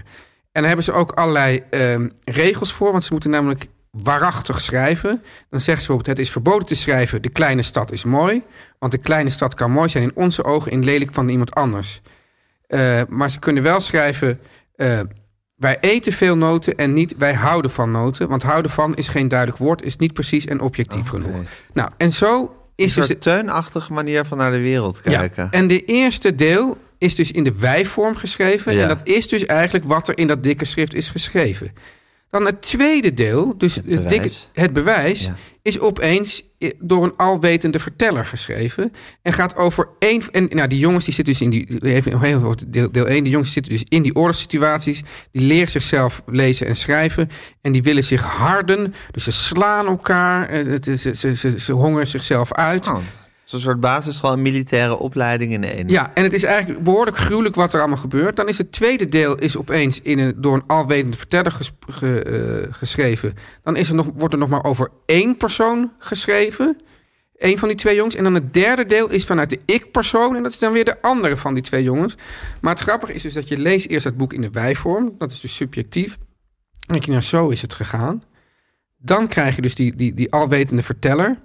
En daar hebben ze ook allerlei ehm, regels voor, want ze moeten namelijk waarachtig schrijven. Dan zeggen ze bijvoorbeeld, het is verboden te schrijven, de kleine stad is mooi. Want de kleine stad kan mooi zijn in onze ogen en lelijk van iemand anders. Eh, maar ze kunnen wel schrijven, eh, wij eten veel noten en niet wij houden van noten. Want houden van is geen duidelijk woord, is niet precies en objectief genoeg. Nou, en zo
Oh, Een
is dus...
soort teunachtige manier van naar de wereld kijken.
Ja, en de eerste deel is dus in de wijvorm geschreven.
Ja.
En dat is dus eigenlijk wat er in dat dikke schrift is geschreven. Dan het tweede deel, dus het,
bewijs.
dikke, het bewijs,
Ja.
is opeens eh, door een alwetende verteller geschreven. En gaat over één. En nou, die jongens die zitten dus in die. Even nog heel kort deel, deel 1. Die jongens zitten dus in die oorlogssituaties. Die leren zichzelf lezen en schrijven. En die willen zich harden. Dus ze slaan elkaar. eh, het is- Ze, ze, ze, ze hongeren zichzelf uit.
Oh, Zo'n soort basisschool en militaire opleiding in één.
Ja, en het is eigenlijk behoorlijk gruwelijk wat er allemaal gebeurt. Dan is het tweede deel is opeens in een, door een alwetende verteller ges- ge- eh, geschreven. Dan is er nog, wordt er nog maar over één persoon geschreven. Eén van die twee jongens. En dan het derde deel is vanuit de ik-persoon. En dat is dan weer de andere van die twee jongens. Maar het grappige is dus dat je leest eerst dat boek in de wij-vorm. Dat is dus subjectief. Dan denk je, nou zo is het gegaan. Dan krijg je dus die, die, die alwetende verteller.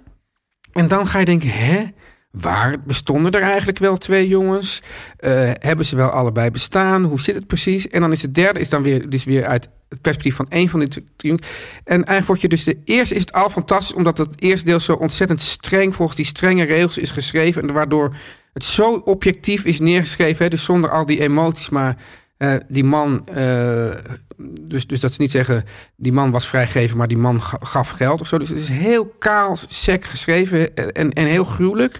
En dan ga je denken, hè? Waar bestonden er eigenlijk wel twee jongens? Eh, hebben ze wel allebei bestaan? Hoe zit het precies? En dan is het derde is dan weer, dus weer uit het perspectief van één van die twee jongens. En eigenlijk word je dus de eerste is het al fantastisch, omdat het eerste deel zo ontzettend streng volgens die strenge regels is geschreven. En waardoor het zo objectief is neergeschreven. Hè? Dus zonder al die emoties, maar eh, die man, eh, dus, dus dat ze niet zeggen, die man was vrijgeven, maar die man ga- gaf geld of zo. Dus het is heel kaal, sec geschreven eh, en, en heel gruwelijk.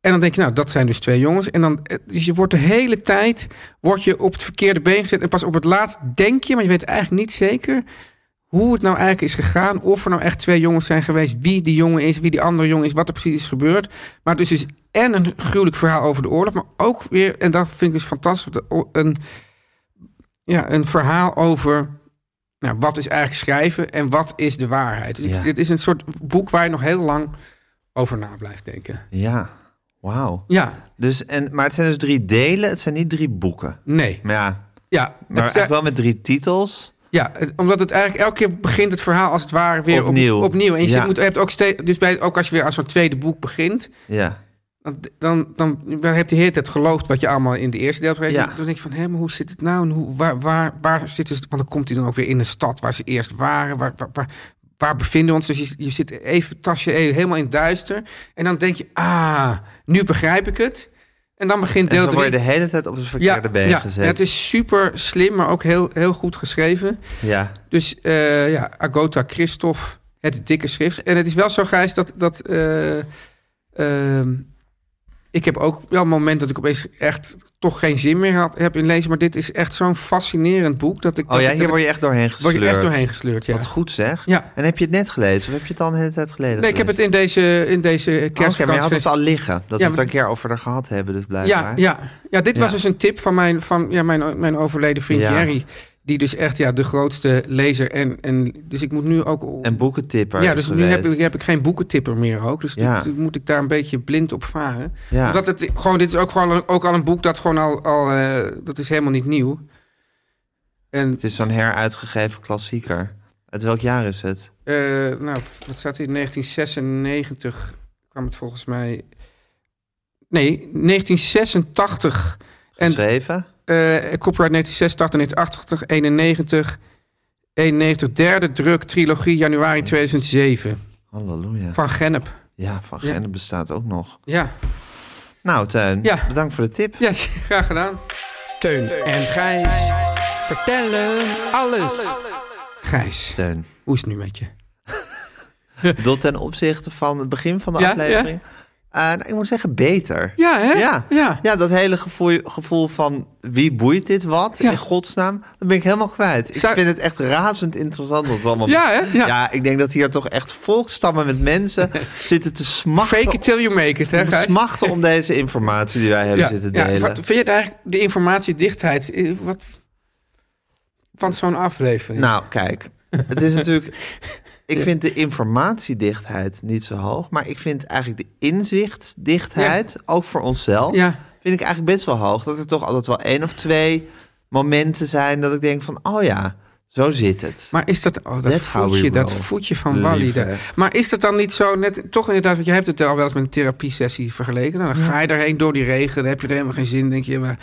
En dan denk je, nou, dat zijn dus twee jongens. En dan, eh, dus je wordt de hele tijd word je op het verkeerde been gezet. En pas op het laatst denk je, maar je weet eigenlijk niet zeker hoe het nou eigenlijk is gegaan. Of er nou echt twee jongens zijn geweest. Wie die jongen is, wie die andere jongen is. Wat er precies is gebeurd. Maar dus is en een gruwelijk verhaal over de oorlog. Maar ook weer, en dat vind ik dus fantastisch. de o- Een, ja, een verhaal over nou, wat is eigenlijk schrijven en wat is de waarheid. Dus ik-
Ja.
dit is een soort boek waar je nog heel lang over na blijft denken.
Ja, wauw.
Ja,
Dus, en, maar het zijn dus drie delen, het zijn niet drie boeken.
nee.
Maar ja,
Ja,
maar
het sta-
echt wel met drie titels.
Ja, het- omdat het eigenlijk elke keer begint het verhaal als het ware weer op-
Opnieuw.
opnieuw. En je
Ja.
zit- moet, hebt ook steeds, dus bij, ook als je weer aan zo'n tweede boek begint,
Ja.
dan, dan, dan, dan heb je de hele tijd geloofd wat je allemaal in de eerste deel hebt gelezen.
Ja.
Dan denk je van, hé, maar hoe zit het nou? En hoe, waar, waar, waar zitten ze? Want dan komt hij dan ook weer in de stad waar ze eerst waren. Waar, waar, waar, waar bevinden we ons? Dus je, je zit even tasje even helemaal in het duister. En dan denk je, ah, nu begrijp ik het. En dan begint
En
deel
dan word je
3.
de hele tijd op het verkeerde been
ja,
gezet.
ja, het is super slim, maar ook heel, heel goed geschreven.
ja.
Dus eh, ja, Agota Christophe, het dikke schrift. En het is wel zo, Gijs, dat... dat eh, ehm, ik heb ook wel een moment dat ik opeens echt toch geen zin meer had, heb in lezen. Maar dit is echt zo'n fascinerend boek. Dat ik,
Oh
dat
ja,
ik-
hier
dat
word je echt doorheen
ik- word
gesleurd.
je echt doorheen gesleurd, ja.
Wat goed zeg.
Ja.
En heb je het net gelezen of heb je het al een hele tijd geleden
Nee, ik heb het
gelezen?
in deze, in deze
Oh, Oké, maar je
kerstvakantie...
had het al liggen. Dat we
Ja,
het
maar-
een keer over er gehad hebben, dus
ja,
blijkbaar.
ja, ja, dit
Ja.
was dus een tip van mijn, van, ja, mijn, mijn overleden vriend
Ja.
Jerry. Die dus echt ja, de grootste lezer. En, en, dus ik moet nu ook...
En boekentipper
Ja,
is
dus nu heb ik,
geweest.
heb ik geen boekentipper meer ook. Dus
Ja.
toen, toen moet ik daar een beetje blind op varen.
Ja.
Omdat het gewoon, dit is ook, gewoon, ook al een boek dat gewoon al, al eh, dat is helemaal niet nieuw. En
Het is zo'n heruitgegeven klassieker. Uit welk jaar is het?
eh, nou, wat staat hier? 1996 kwam het volgens mij. Nee, 1986. En
Geschreven?
eh copyright 1986, 1980, 91, 91, derde druk, trilogie, januari 2007.
Halleluja.
Van Gennep.
Ja, Van
Ja.
Gennep bestaat ook nog.
Ja.
Nou, Tuin,
Ja.
bedankt voor de tip.
ja, graag gedaan.
Teun en Gijs vertellen alles.
Gijs,
Teun,
hoe is het nu met je?
dat ten opzichte van het begin van de
Ja,
aflevering... eh, nou, ik moet zeggen, beter.
Ja, hè?
Ja.
Ja.
ja, dat hele gevoel, gevoel van wie boeit dit wat,
Ja.
in godsnaam, dat ben ik helemaal kwijt. Ik
Zou-
vind het echt razend interessant dat we allemaal...
Ja, hè? Ja.
ik denk dat hier toch echt volkstammen met mensen zitten te smachten,
Fake it till you make it, hè,
om-
Gijs?
smachten om deze informatie die wij hebben
ja,
zitten
ja.
delen.
Wat vind je het eigenlijk, de informatiedichtheid, eh, wat van zo'n aflevering?
Nou, kijk, het is natuurlijk... Ik vind de informatiedichtheid niet zo hoog, maar ik vind eigenlijk de inzichtdichtheid, ook voor onszelf,
Ja.
vind ik eigenlijk best wel hoog. Dat er toch altijd wel één of twee momenten zijn dat ik denk van, oh ja, zo zit het.
Maar is dat, oh, dat
That's how we
voetje, dat
roll.
voetje van Wally
Lief,
daar.
hè?
Maar is dat dan niet zo, net, toch inderdaad, want je hebt het al wel eens met een therapiesessie vergeleken. Nou, dan ga je daarheen door die regen, dan heb je er helemaal geen zin. Dan denk je, maar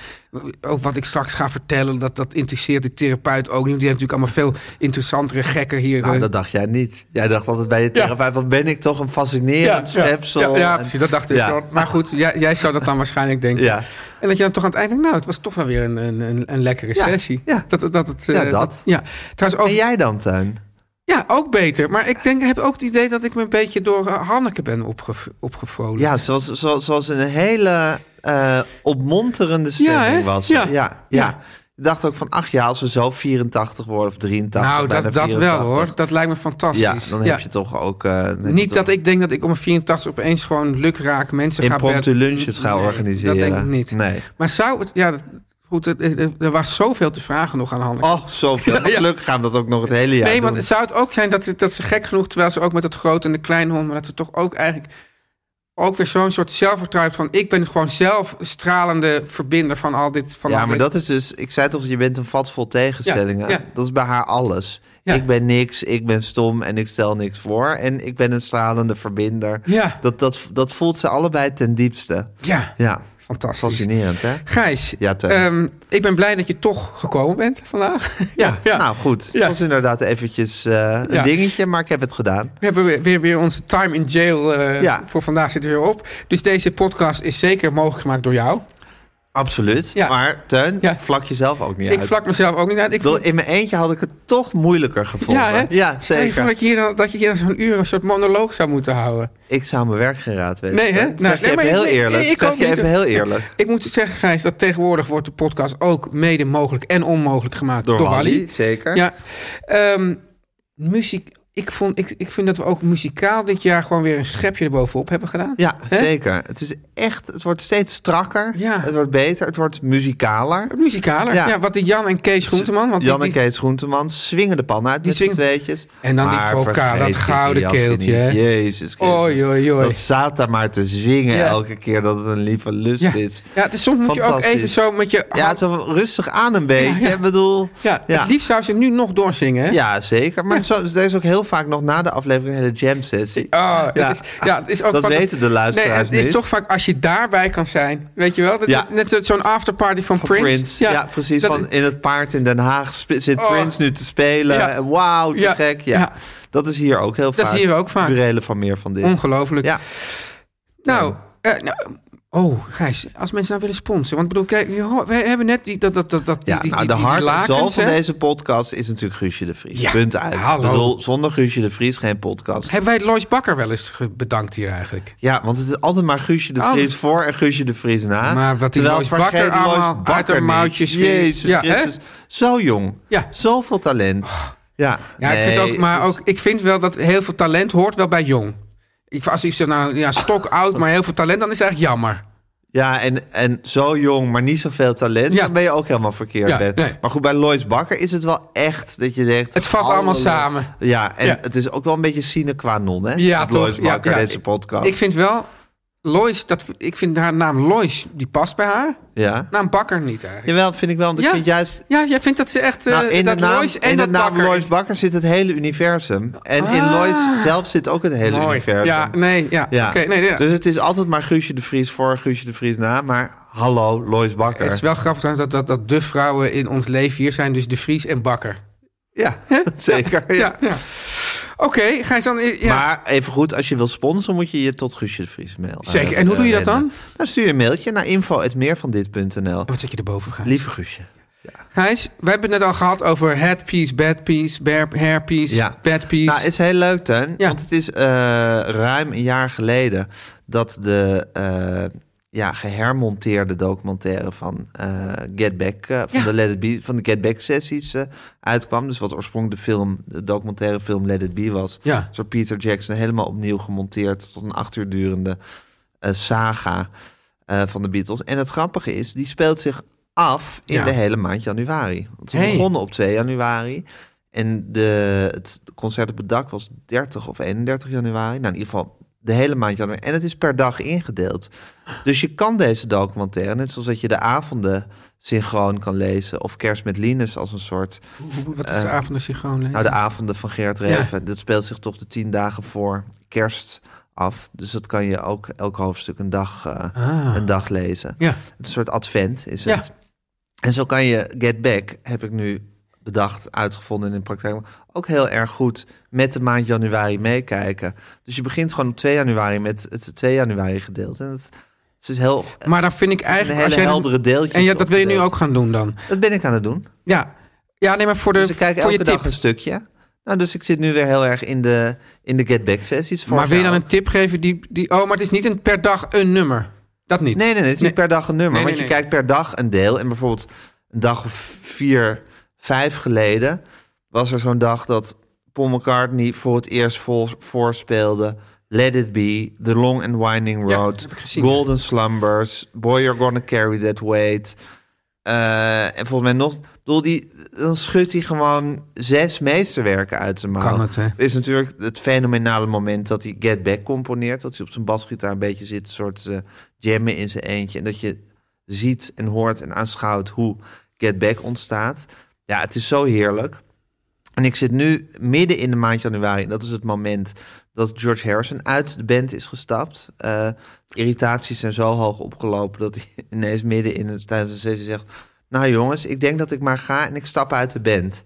ook wat ik straks ga vertellen, dat, dat interesseert de therapeut ook niet. Die heeft natuurlijk allemaal veel interessantere gekken hier.
Nou,
eh,
dat dacht jij niet. Jij dacht altijd bij je therapeut, wat ben ik toch een fascinerend schepsel.
Ja, ja,
En-
precies, dat dacht ik.
Ja.
wel. Maar goed, jij, jij zou dat dan waarschijnlijk denken.
Ja.
En dat je dan toch aan het eind denkt, nou, het was toch wel weer een, een, een, een lekkere
Ja,
sessie.
ja.
Dat, dat, het,
Ja,
eh,
dat.
ja. Trouwens,
En
over,
jij dan, Tuin?
ja, ook beter. Maar ik denk, ik heb ook het idee dat ik me een beetje door eh, Hanneke ben opgev opgevrolijkt.
Ja, zoals, zoals, zoals een hele eh, opmonterende stemming
hè?
was.
Ja.
Ja, ja,
Ja.
Ik dacht ook van, ach ja, als we zo 84 worden of 83.
nou,
bijna
dat, dat wel
84,
hoor. Dat lijkt me
Ja,
fantastisch.
dan heb je toch ook... eh, dan heb je
Niet
toch
dat ik denk dat ik om een 84 opeens gewoon luk raak mensen ga
Impromptu
bellen.
lunches gaan
Nee,
organiseren.
Dat denk ik niet.
Nee.
Maar zou het... Ja, dat, goed, het- het- er was zoveel te vragen nog aan Hanneke.
Oh, zoveel. Maar
Ja.
Gelukkig gaan we dat ook nog het hele jaar
nee,
doen.
want zou het ook zijn dat, dat ze gek genoeg, terwijl ze ook met het grote en de kleine hond, maar dat ze toch ook eigenlijk ook weer zo'n soort zelfvertrouwen van ik ben gewoon zelf stralende verbinder van al dit. Van
ja,
al
maar
dit.
dat is dus... Ik zei toch, je bent een vat vol tegenstellingen.
Ja, ja.
Dat is bij haar alles.
Ja.
Ik ben niks, ik ben stom en ik stel niks voor. En ik ben een stralende verbinder.
Ja.
Dat, dat, dat voelt ze allebei ten diepste.
Ja,
Ja,
fantastisch.
fascinerend hè?
Gijs,
Ja, Teun.
ehm, ik ben blij dat je toch gekomen bent vandaag.
Ja, nou goed.
Ja.
Het was inderdaad eventjes eh, een
Ja.
dingetje, maar ik heb het gedaan.
We hebben weer, weer, weer onze time in jail eh,
Ja.
voor vandaag zit weer op. Dus deze podcast is zeker mogelijk gemaakt door jou.
Absoluut.
Ja.
Maar Teun,
Ja.
vlak jezelf ook niet
ik
uit.
vlak mezelf ook niet uit. Ik
Ik bedoel,
vond-
In mijn eentje had ik het toch moeilijker gevonden.
ja, hè?
ja
Stel je voor
zeker.
dat je hier dan, dat je hier dan zo'n uur een soort monoloog zou moeten houden.
Ik zou mijn werk geen raad weten.
Nee, hè?
Eh, Dat
Nou,
zeg
nee,
je
maar
even heel
nee,
eerlijk.
nee, ik
zeg
ook
je
niet.
even heel eerlijk.
Ik moet zeggen, Gijs, dat tegenwoordig wordt de podcast ook mede mogelijk en onmogelijk gemaakt door,
Door Wally,
Wally.
zeker.
Ja. Ehm, muziek. Ik, vond, ik, ik vind dat we ook muzikaal dit jaar gewoon weer een schepje erbovenop hebben gedaan.
Ja,
Hè?
zeker. Het is echt, het wordt steeds strakker.
Ja.
Het wordt beter, het wordt muzikaler.
Muzikaler. Ja.
Ja.
wat de Jan en Kees Groenteman. Want die-
Jan en
die-
Kees Groenteman swingen de pan Nou, uit met
swingen-
z'n tweetjes.
En dan die
Maar
vocaal,
vergeet
dat
die
gouden
Jaskin
keeltje,
niet.
hè?
Jezus Christus.
Oei, oei, oei.
Dat staat daar maar te zingen
Ja.
elke keer dat het een lieve lust
ja.
is.
ja, dus soms moet je ook
Fantastisch.
even zo met je...
Ja, het is wel van rustig aan een beetje.
Ja, ja.
Ik bedoel,
Ja,
ja.
het liefst zou ze nu nog doorzingen, hè?
Ja, zeker. Maar zo, er is ook heel vaak nog na de aflevering een hele jam-sessie.
Oh,
Ja.
Het is, ja, het is ook
Dat
vaak-
weten de luisteraars
Nee, het is
niet.
toch vaak als je daarbij kan zijn. Weet je wel? Dat,
Ja.
Net zo- zo'n afterparty van,
Van
Prince.
Prince. Ja, precies.
Dat-
van in het paard in Den Haag spe- zit
Oh.
Prince nu te spelen.
Ja.
En Wauw, te
Ja.
gek. Ja.
Ja.
Dat is hier ook heel
Dat
vaak.
is hier ook vaak.
Burelen van meer van dit.
Ongelooflijk.
Ja,
Nou, eh, nou, oh, Gijs, als mensen nou willen sponsoren. Want ik bedoel, kijk, nu ho- wij hebben net die, dat, dat, dat, dat,
ja
die,
nou, de
die- die
hart en
lakens,
ziel van
hè.
deze podcast is natuurlijk Guusje de Vries.
Ja,
Punt uit.
hallo.
Ik bedoel, zonder Guusje de Vries geen podcast.
Hebben wij Lois Bakker wel eens ge- bedankt hier eigenlijk?
Ja, want het is altijd maar Guusje de
Altijd.
Vries voor en Guusje de Vries na.
Maar wat die Lois
vergeet
Bakker
Lois
allemaal uit haar
niet.
mouwtjes weer-
Jezus
Ja, hè?
Christus. Zo jong.
Ja. Oh.
Zoveel talent. Ja,
Ja, ik vind
nee,
ook, maar
het is-
ook, ik vind wel dat heel veel talent hoort wel bij jong. Ik, als ik zeg, nou ja, stok oud, maar heel veel talent, dan is het eigenlijk jammer.
Ja, en, en zo jong, maar niet zoveel talent,
Ja.
dan ben je ook helemaal verkeerd.
Ja,
Ben.
nee.
Maar goed, bij Lois Bakker is het wel echt dat je denkt...
Het valt
alle-
allemaal samen.
Ja, en
Ja.
het is ook wel een beetje sine qua non, hè?
Ja,
met
toch?
Lois Bakker,
Ja, ja.
deze podcast.
Ik vind wel, Lois, dat, ik vind haar naam Lois, die past bij haar.
ja.
Naam Bakker niet eigenlijk.
Jawel, vind ik wel, want ik
Ja.
vind juist...
Ja, jij vindt dat ze echt, eh,
Nou, in
dat
de naam,
Lois en
in de
dat
naam
Bakker.
Lois Bakker zit het hele universum. En in
Ah.
Lois zelf zit ook het hele
Mooi.
universum.
Ja, nee, ja.
Ja.
Oké, nee, ja.
Dus het is altijd maar Guusje de Vries voor, Guusje de Vries na. Maar hallo, Lois Bakker.
Het is wel grappig trouwens dat, dat, dat de vrouwen in ons leven hier zijn. Dus de Vries en Bakker.
Ja, zeker. ja.
Ja, ja. Oké, Gijs dan... Ja.
Maar even goed, als je wil sponsoren, moet je je tot Guusje de Vries mailen.
Zeker. En hoe doe je
eh,
dat dan? Oh,
Dan Nou, stuur je een mailtje naar info.meervandit.nl.
Wat zet je erboven, Gijs?
Lieve Guusje.
Gijs, we hebben het net al gehad over headpiece, badpiece, bear- hairpiece,
Ja.
bedpiece.
Nou, is heel leuk, Teun.
Ja.
Want het is eh, ruim een jaar geleden dat de eh, ja, gehermonteerde documentaire van eh, Get Back, eh, van,
Ja.
de Let It Be, van de Get Back sessies eh, uitkwam. Dus wat oorspronkelijk de film, de documentaire film Let It Be was.
Ja.
Is door Peter Jackson helemaal opnieuw gemonteerd tot een acht uur durende eh, saga eh, van de Beatles. En het grappige is, die speelt zich af in
Ja.
de hele maand januari. Want ze
Hey.
begonnen op 2 januari. En de, het concert op het dak was 30 of 31 januari. Nou, in ieder geval de hele maand januari. En het is per dag ingedeeld. Dus je kan deze documentaire, net zoals dat je de avonden synchroon kan lezen... of Kerst met Linus als een soort...
Hoe- Wat is de avond als je gewoon leest?
eh, Nou, de avonden van Gerard Reven. Dat speelt zich toch de tien dagen voor kerst af. Dus dat kan je ook elk hoofdstuk een dag, eh, een dag lezen.
Ah. Ja.
Een soort advent is
Ja.
het. En zo kan je Get Back, heb ik nu bedacht, uitgevonden en in de praktijk, ook heel erg goed met de maand januari meekijken. Dus je begint gewoon op 2 januari met het 2 januari gedeelte. En het, het is heel...
Maar daar vind ik
is een
eigenlijk...
hele
als jij-
heldere deeltjes
En ja, dat wil je nu
opgedeeld.
ook gaan doen dan.
Dat ben ik aan het doen.
Ja, ja nee, maar voor, de,
Dus ik kijk
voor je
elke
tip.
dag een stukje. Nou, dus ik zit nu weer heel erg in de, in de Get Back sessies.
Maar
Vorig
wil je dan
jaar
een tip geven die, die... Oh, maar het is niet een, per dag een nummer. Dat niet.
Nee, nee, nee. Het is
Nee.
niet per dag een nummer.
Nee, nee,
want je
nee.
kijkt per dag een deel. En bijvoorbeeld een dag of vier, vijf geleden... was er zo'n dag dat Paul McCartney voor het eerst vo- voorspeelde... Let It Be, The Long and Winding
Ja,
Road,
heb ik gezien,
Golden Slumbers... Boy, You're Gonna Carry That Weight. eh, en volgens mij nog... ik Bedoel, die, dan schudt hij gewoon zes meesterwerken uit zijn mouw.
Kan het, hè?
is natuurlijk het fenomenale moment dat hij Get Back componeert. Dat hij op zijn basgitaar een beetje zit, een soort eh, jammen in zijn eentje. En dat je ziet en hoort en aanschouwt hoe Get Back ontstaat. Ja, het is zo heerlijk. En ik zit nu midden in de maand januari. En dat is het moment dat George Harrison uit de band is gestapt. Eh, irritaties zijn zo hoog opgelopen dat hij ineens midden in het, tijdens een sessie zegt... Nou jongens, ik denk dat ik maar ga en ik stap uit de band.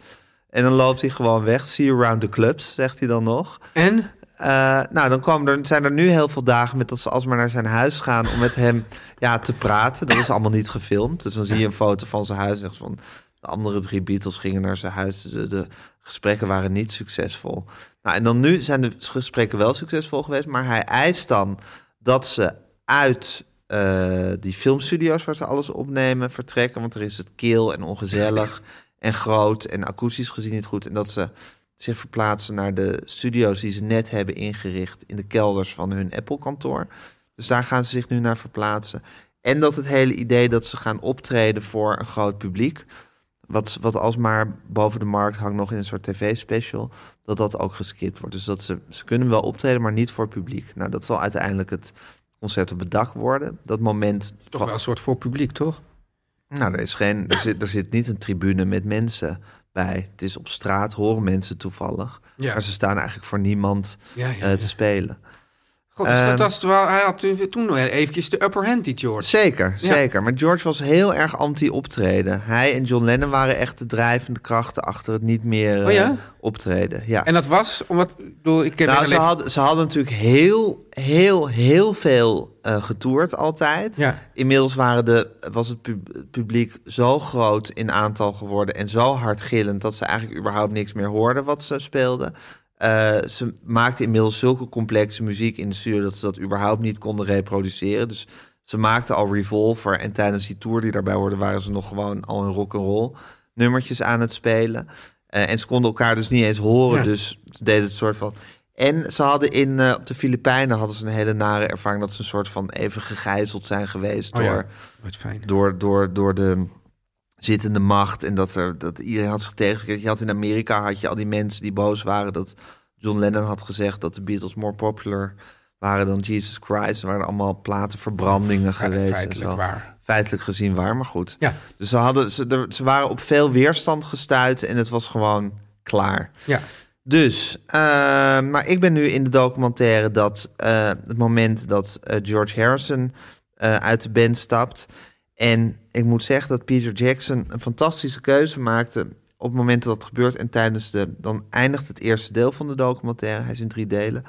En dan loopt hij gewoon weg. See you around the clubs, zegt hij dan nog.
En?
Eh, nou, dan kwam er, zijn er nu heel veel dagen met dat ze alsmaar naar zijn huis gaan om met hem ja, te praten. Dat is allemaal niet gefilmd. Dus dan zie je een foto van zijn huis. Echt van de andere drie Beatles gingen naar zijn huis. De, de gesprekken waren niet succesvol. Nou, en dan nu zijn de gesprekken wel succesvol geweest. Maar hij eist dan dat ze uit eh, die filmstudio's waar ze alles opnemen vertrekken. Want er is het kil en ongezellig en groot en akoestisch gezien niet goed. En dat ze zich verplaatsen naar de studio's die ze net hebben ingericht in de kelders van hun Apple-kantoor. Dus daar gaan ze zich nu naar verplaatsen. En dat het hele idee dat ze gaan optreden voor een groot publiek, wat, wat alsmaar boven de markt hangt nog in een soort tv-special, dat dat ook geskipt wordt. Dus dat ze, ze kunnen wel optreden, maar niet voor het publiek. Nou, dat zal uiteindelijk het concert op het dak worden. Dat moment...
Toch wel een soort voor publiek, toch?
Nou, er, is geen, er, zit, er zit niet een tribune met mensen bij. Het is op straat, horen mensen toevallig.
Ja.
Maar ze staan eigenlijk voor niemand
Ja, ja,
eh, te spelen.
God, dus dat
Ehm.
was wel, hij had toen- toen nog eventjes de upper hand, die George.
Zeker,
Ja.
zeker. Maar George was heel erg anti-optreden. Hij en John Lennon waren echt de drijvende krachten achter het niet meer
Oh ja?
eh, optreden. Ja.
En dat was, omdat, ik bedoel, ik ken
nou,
haar
ze,
leven-
hadden, ze hadden natuurlijk heel, heel, heel veel eh, getoerd altijd.
Ja.
Inmiddels waren de, was het pub- het publiek zo groot in aantal geworden en zo hardgillend dat ze eigenlijk überhaupt niks meer hoorden wat ze speelden. Eh, ze maakten inmiddels zulke complexe muziek in de studio dat ze dat überhaupt niet konden reproduceren. Dus ze maakten al Revolver en tijdens die tour die daarbij hoorde waren ze nog gewoon al in rock'n'roll nummertjes aan het spelen. Eh, en ze konden elkaar dus niet eens horen,
Ja.
dus ze deden het soort van... En ze hadden in, eh, op de Filipijnen hadden ze een hele nare ervaring... dat ze een soort van even gegijzeld zijn geweest
Oh ja.
door,
Wat fijn.
door, door, door de zittende macht. En dat, er, dat iedereen had zich tegengekregen. Je had in Amerika had je al die mensen die boos waren dat John Lennon had gezegd dat de Beatles more popular waren dan Jesus Christ. Er waren allemaal platenverbrandingen geweest. en
feitelijk
zo.
waar.
Feitelijk gezien waar, maar goed.
Ja.
Dus ze, hadden, ze, er- ze waren op veel weerstand gestuurd en het was gewoon klaar.
Ja.
Dus, eh, maar ik ben nu in de documentaire dat eh, het moment dat eh, George Harrison eh, uit de band stapt. En ik moet zeggen dat Peter Jackson een fantastische keuze maakte op het moment dat dat gebeurt. En tijdens de, dan eindigt het eerste deel van de documentaire. Hij is in drie delen.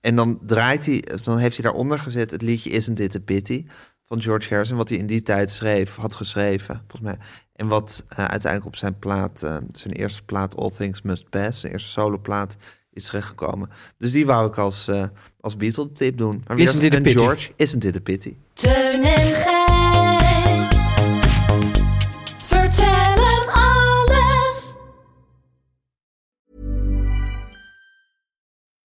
En dan draait hij, dan heeft hij daaronder gezet het liedje Isn't Dit a Pity van George Harrison, wat hij in die tijd schreef, had geschreven, volgens mij. En wat eh, uiteindelijk op zijn plaat, eh, zijn eerste plaat All Things Must Pass, zijn eerste soloplaat, is terechtgekomen. Dus die wou ik als, eh als Beatle tip doen. Maar wie
Isn't
dat-
It a
en
Pity?
George, Isn't Dit a Pity?
Teun en Gijs. Vertel hem alles.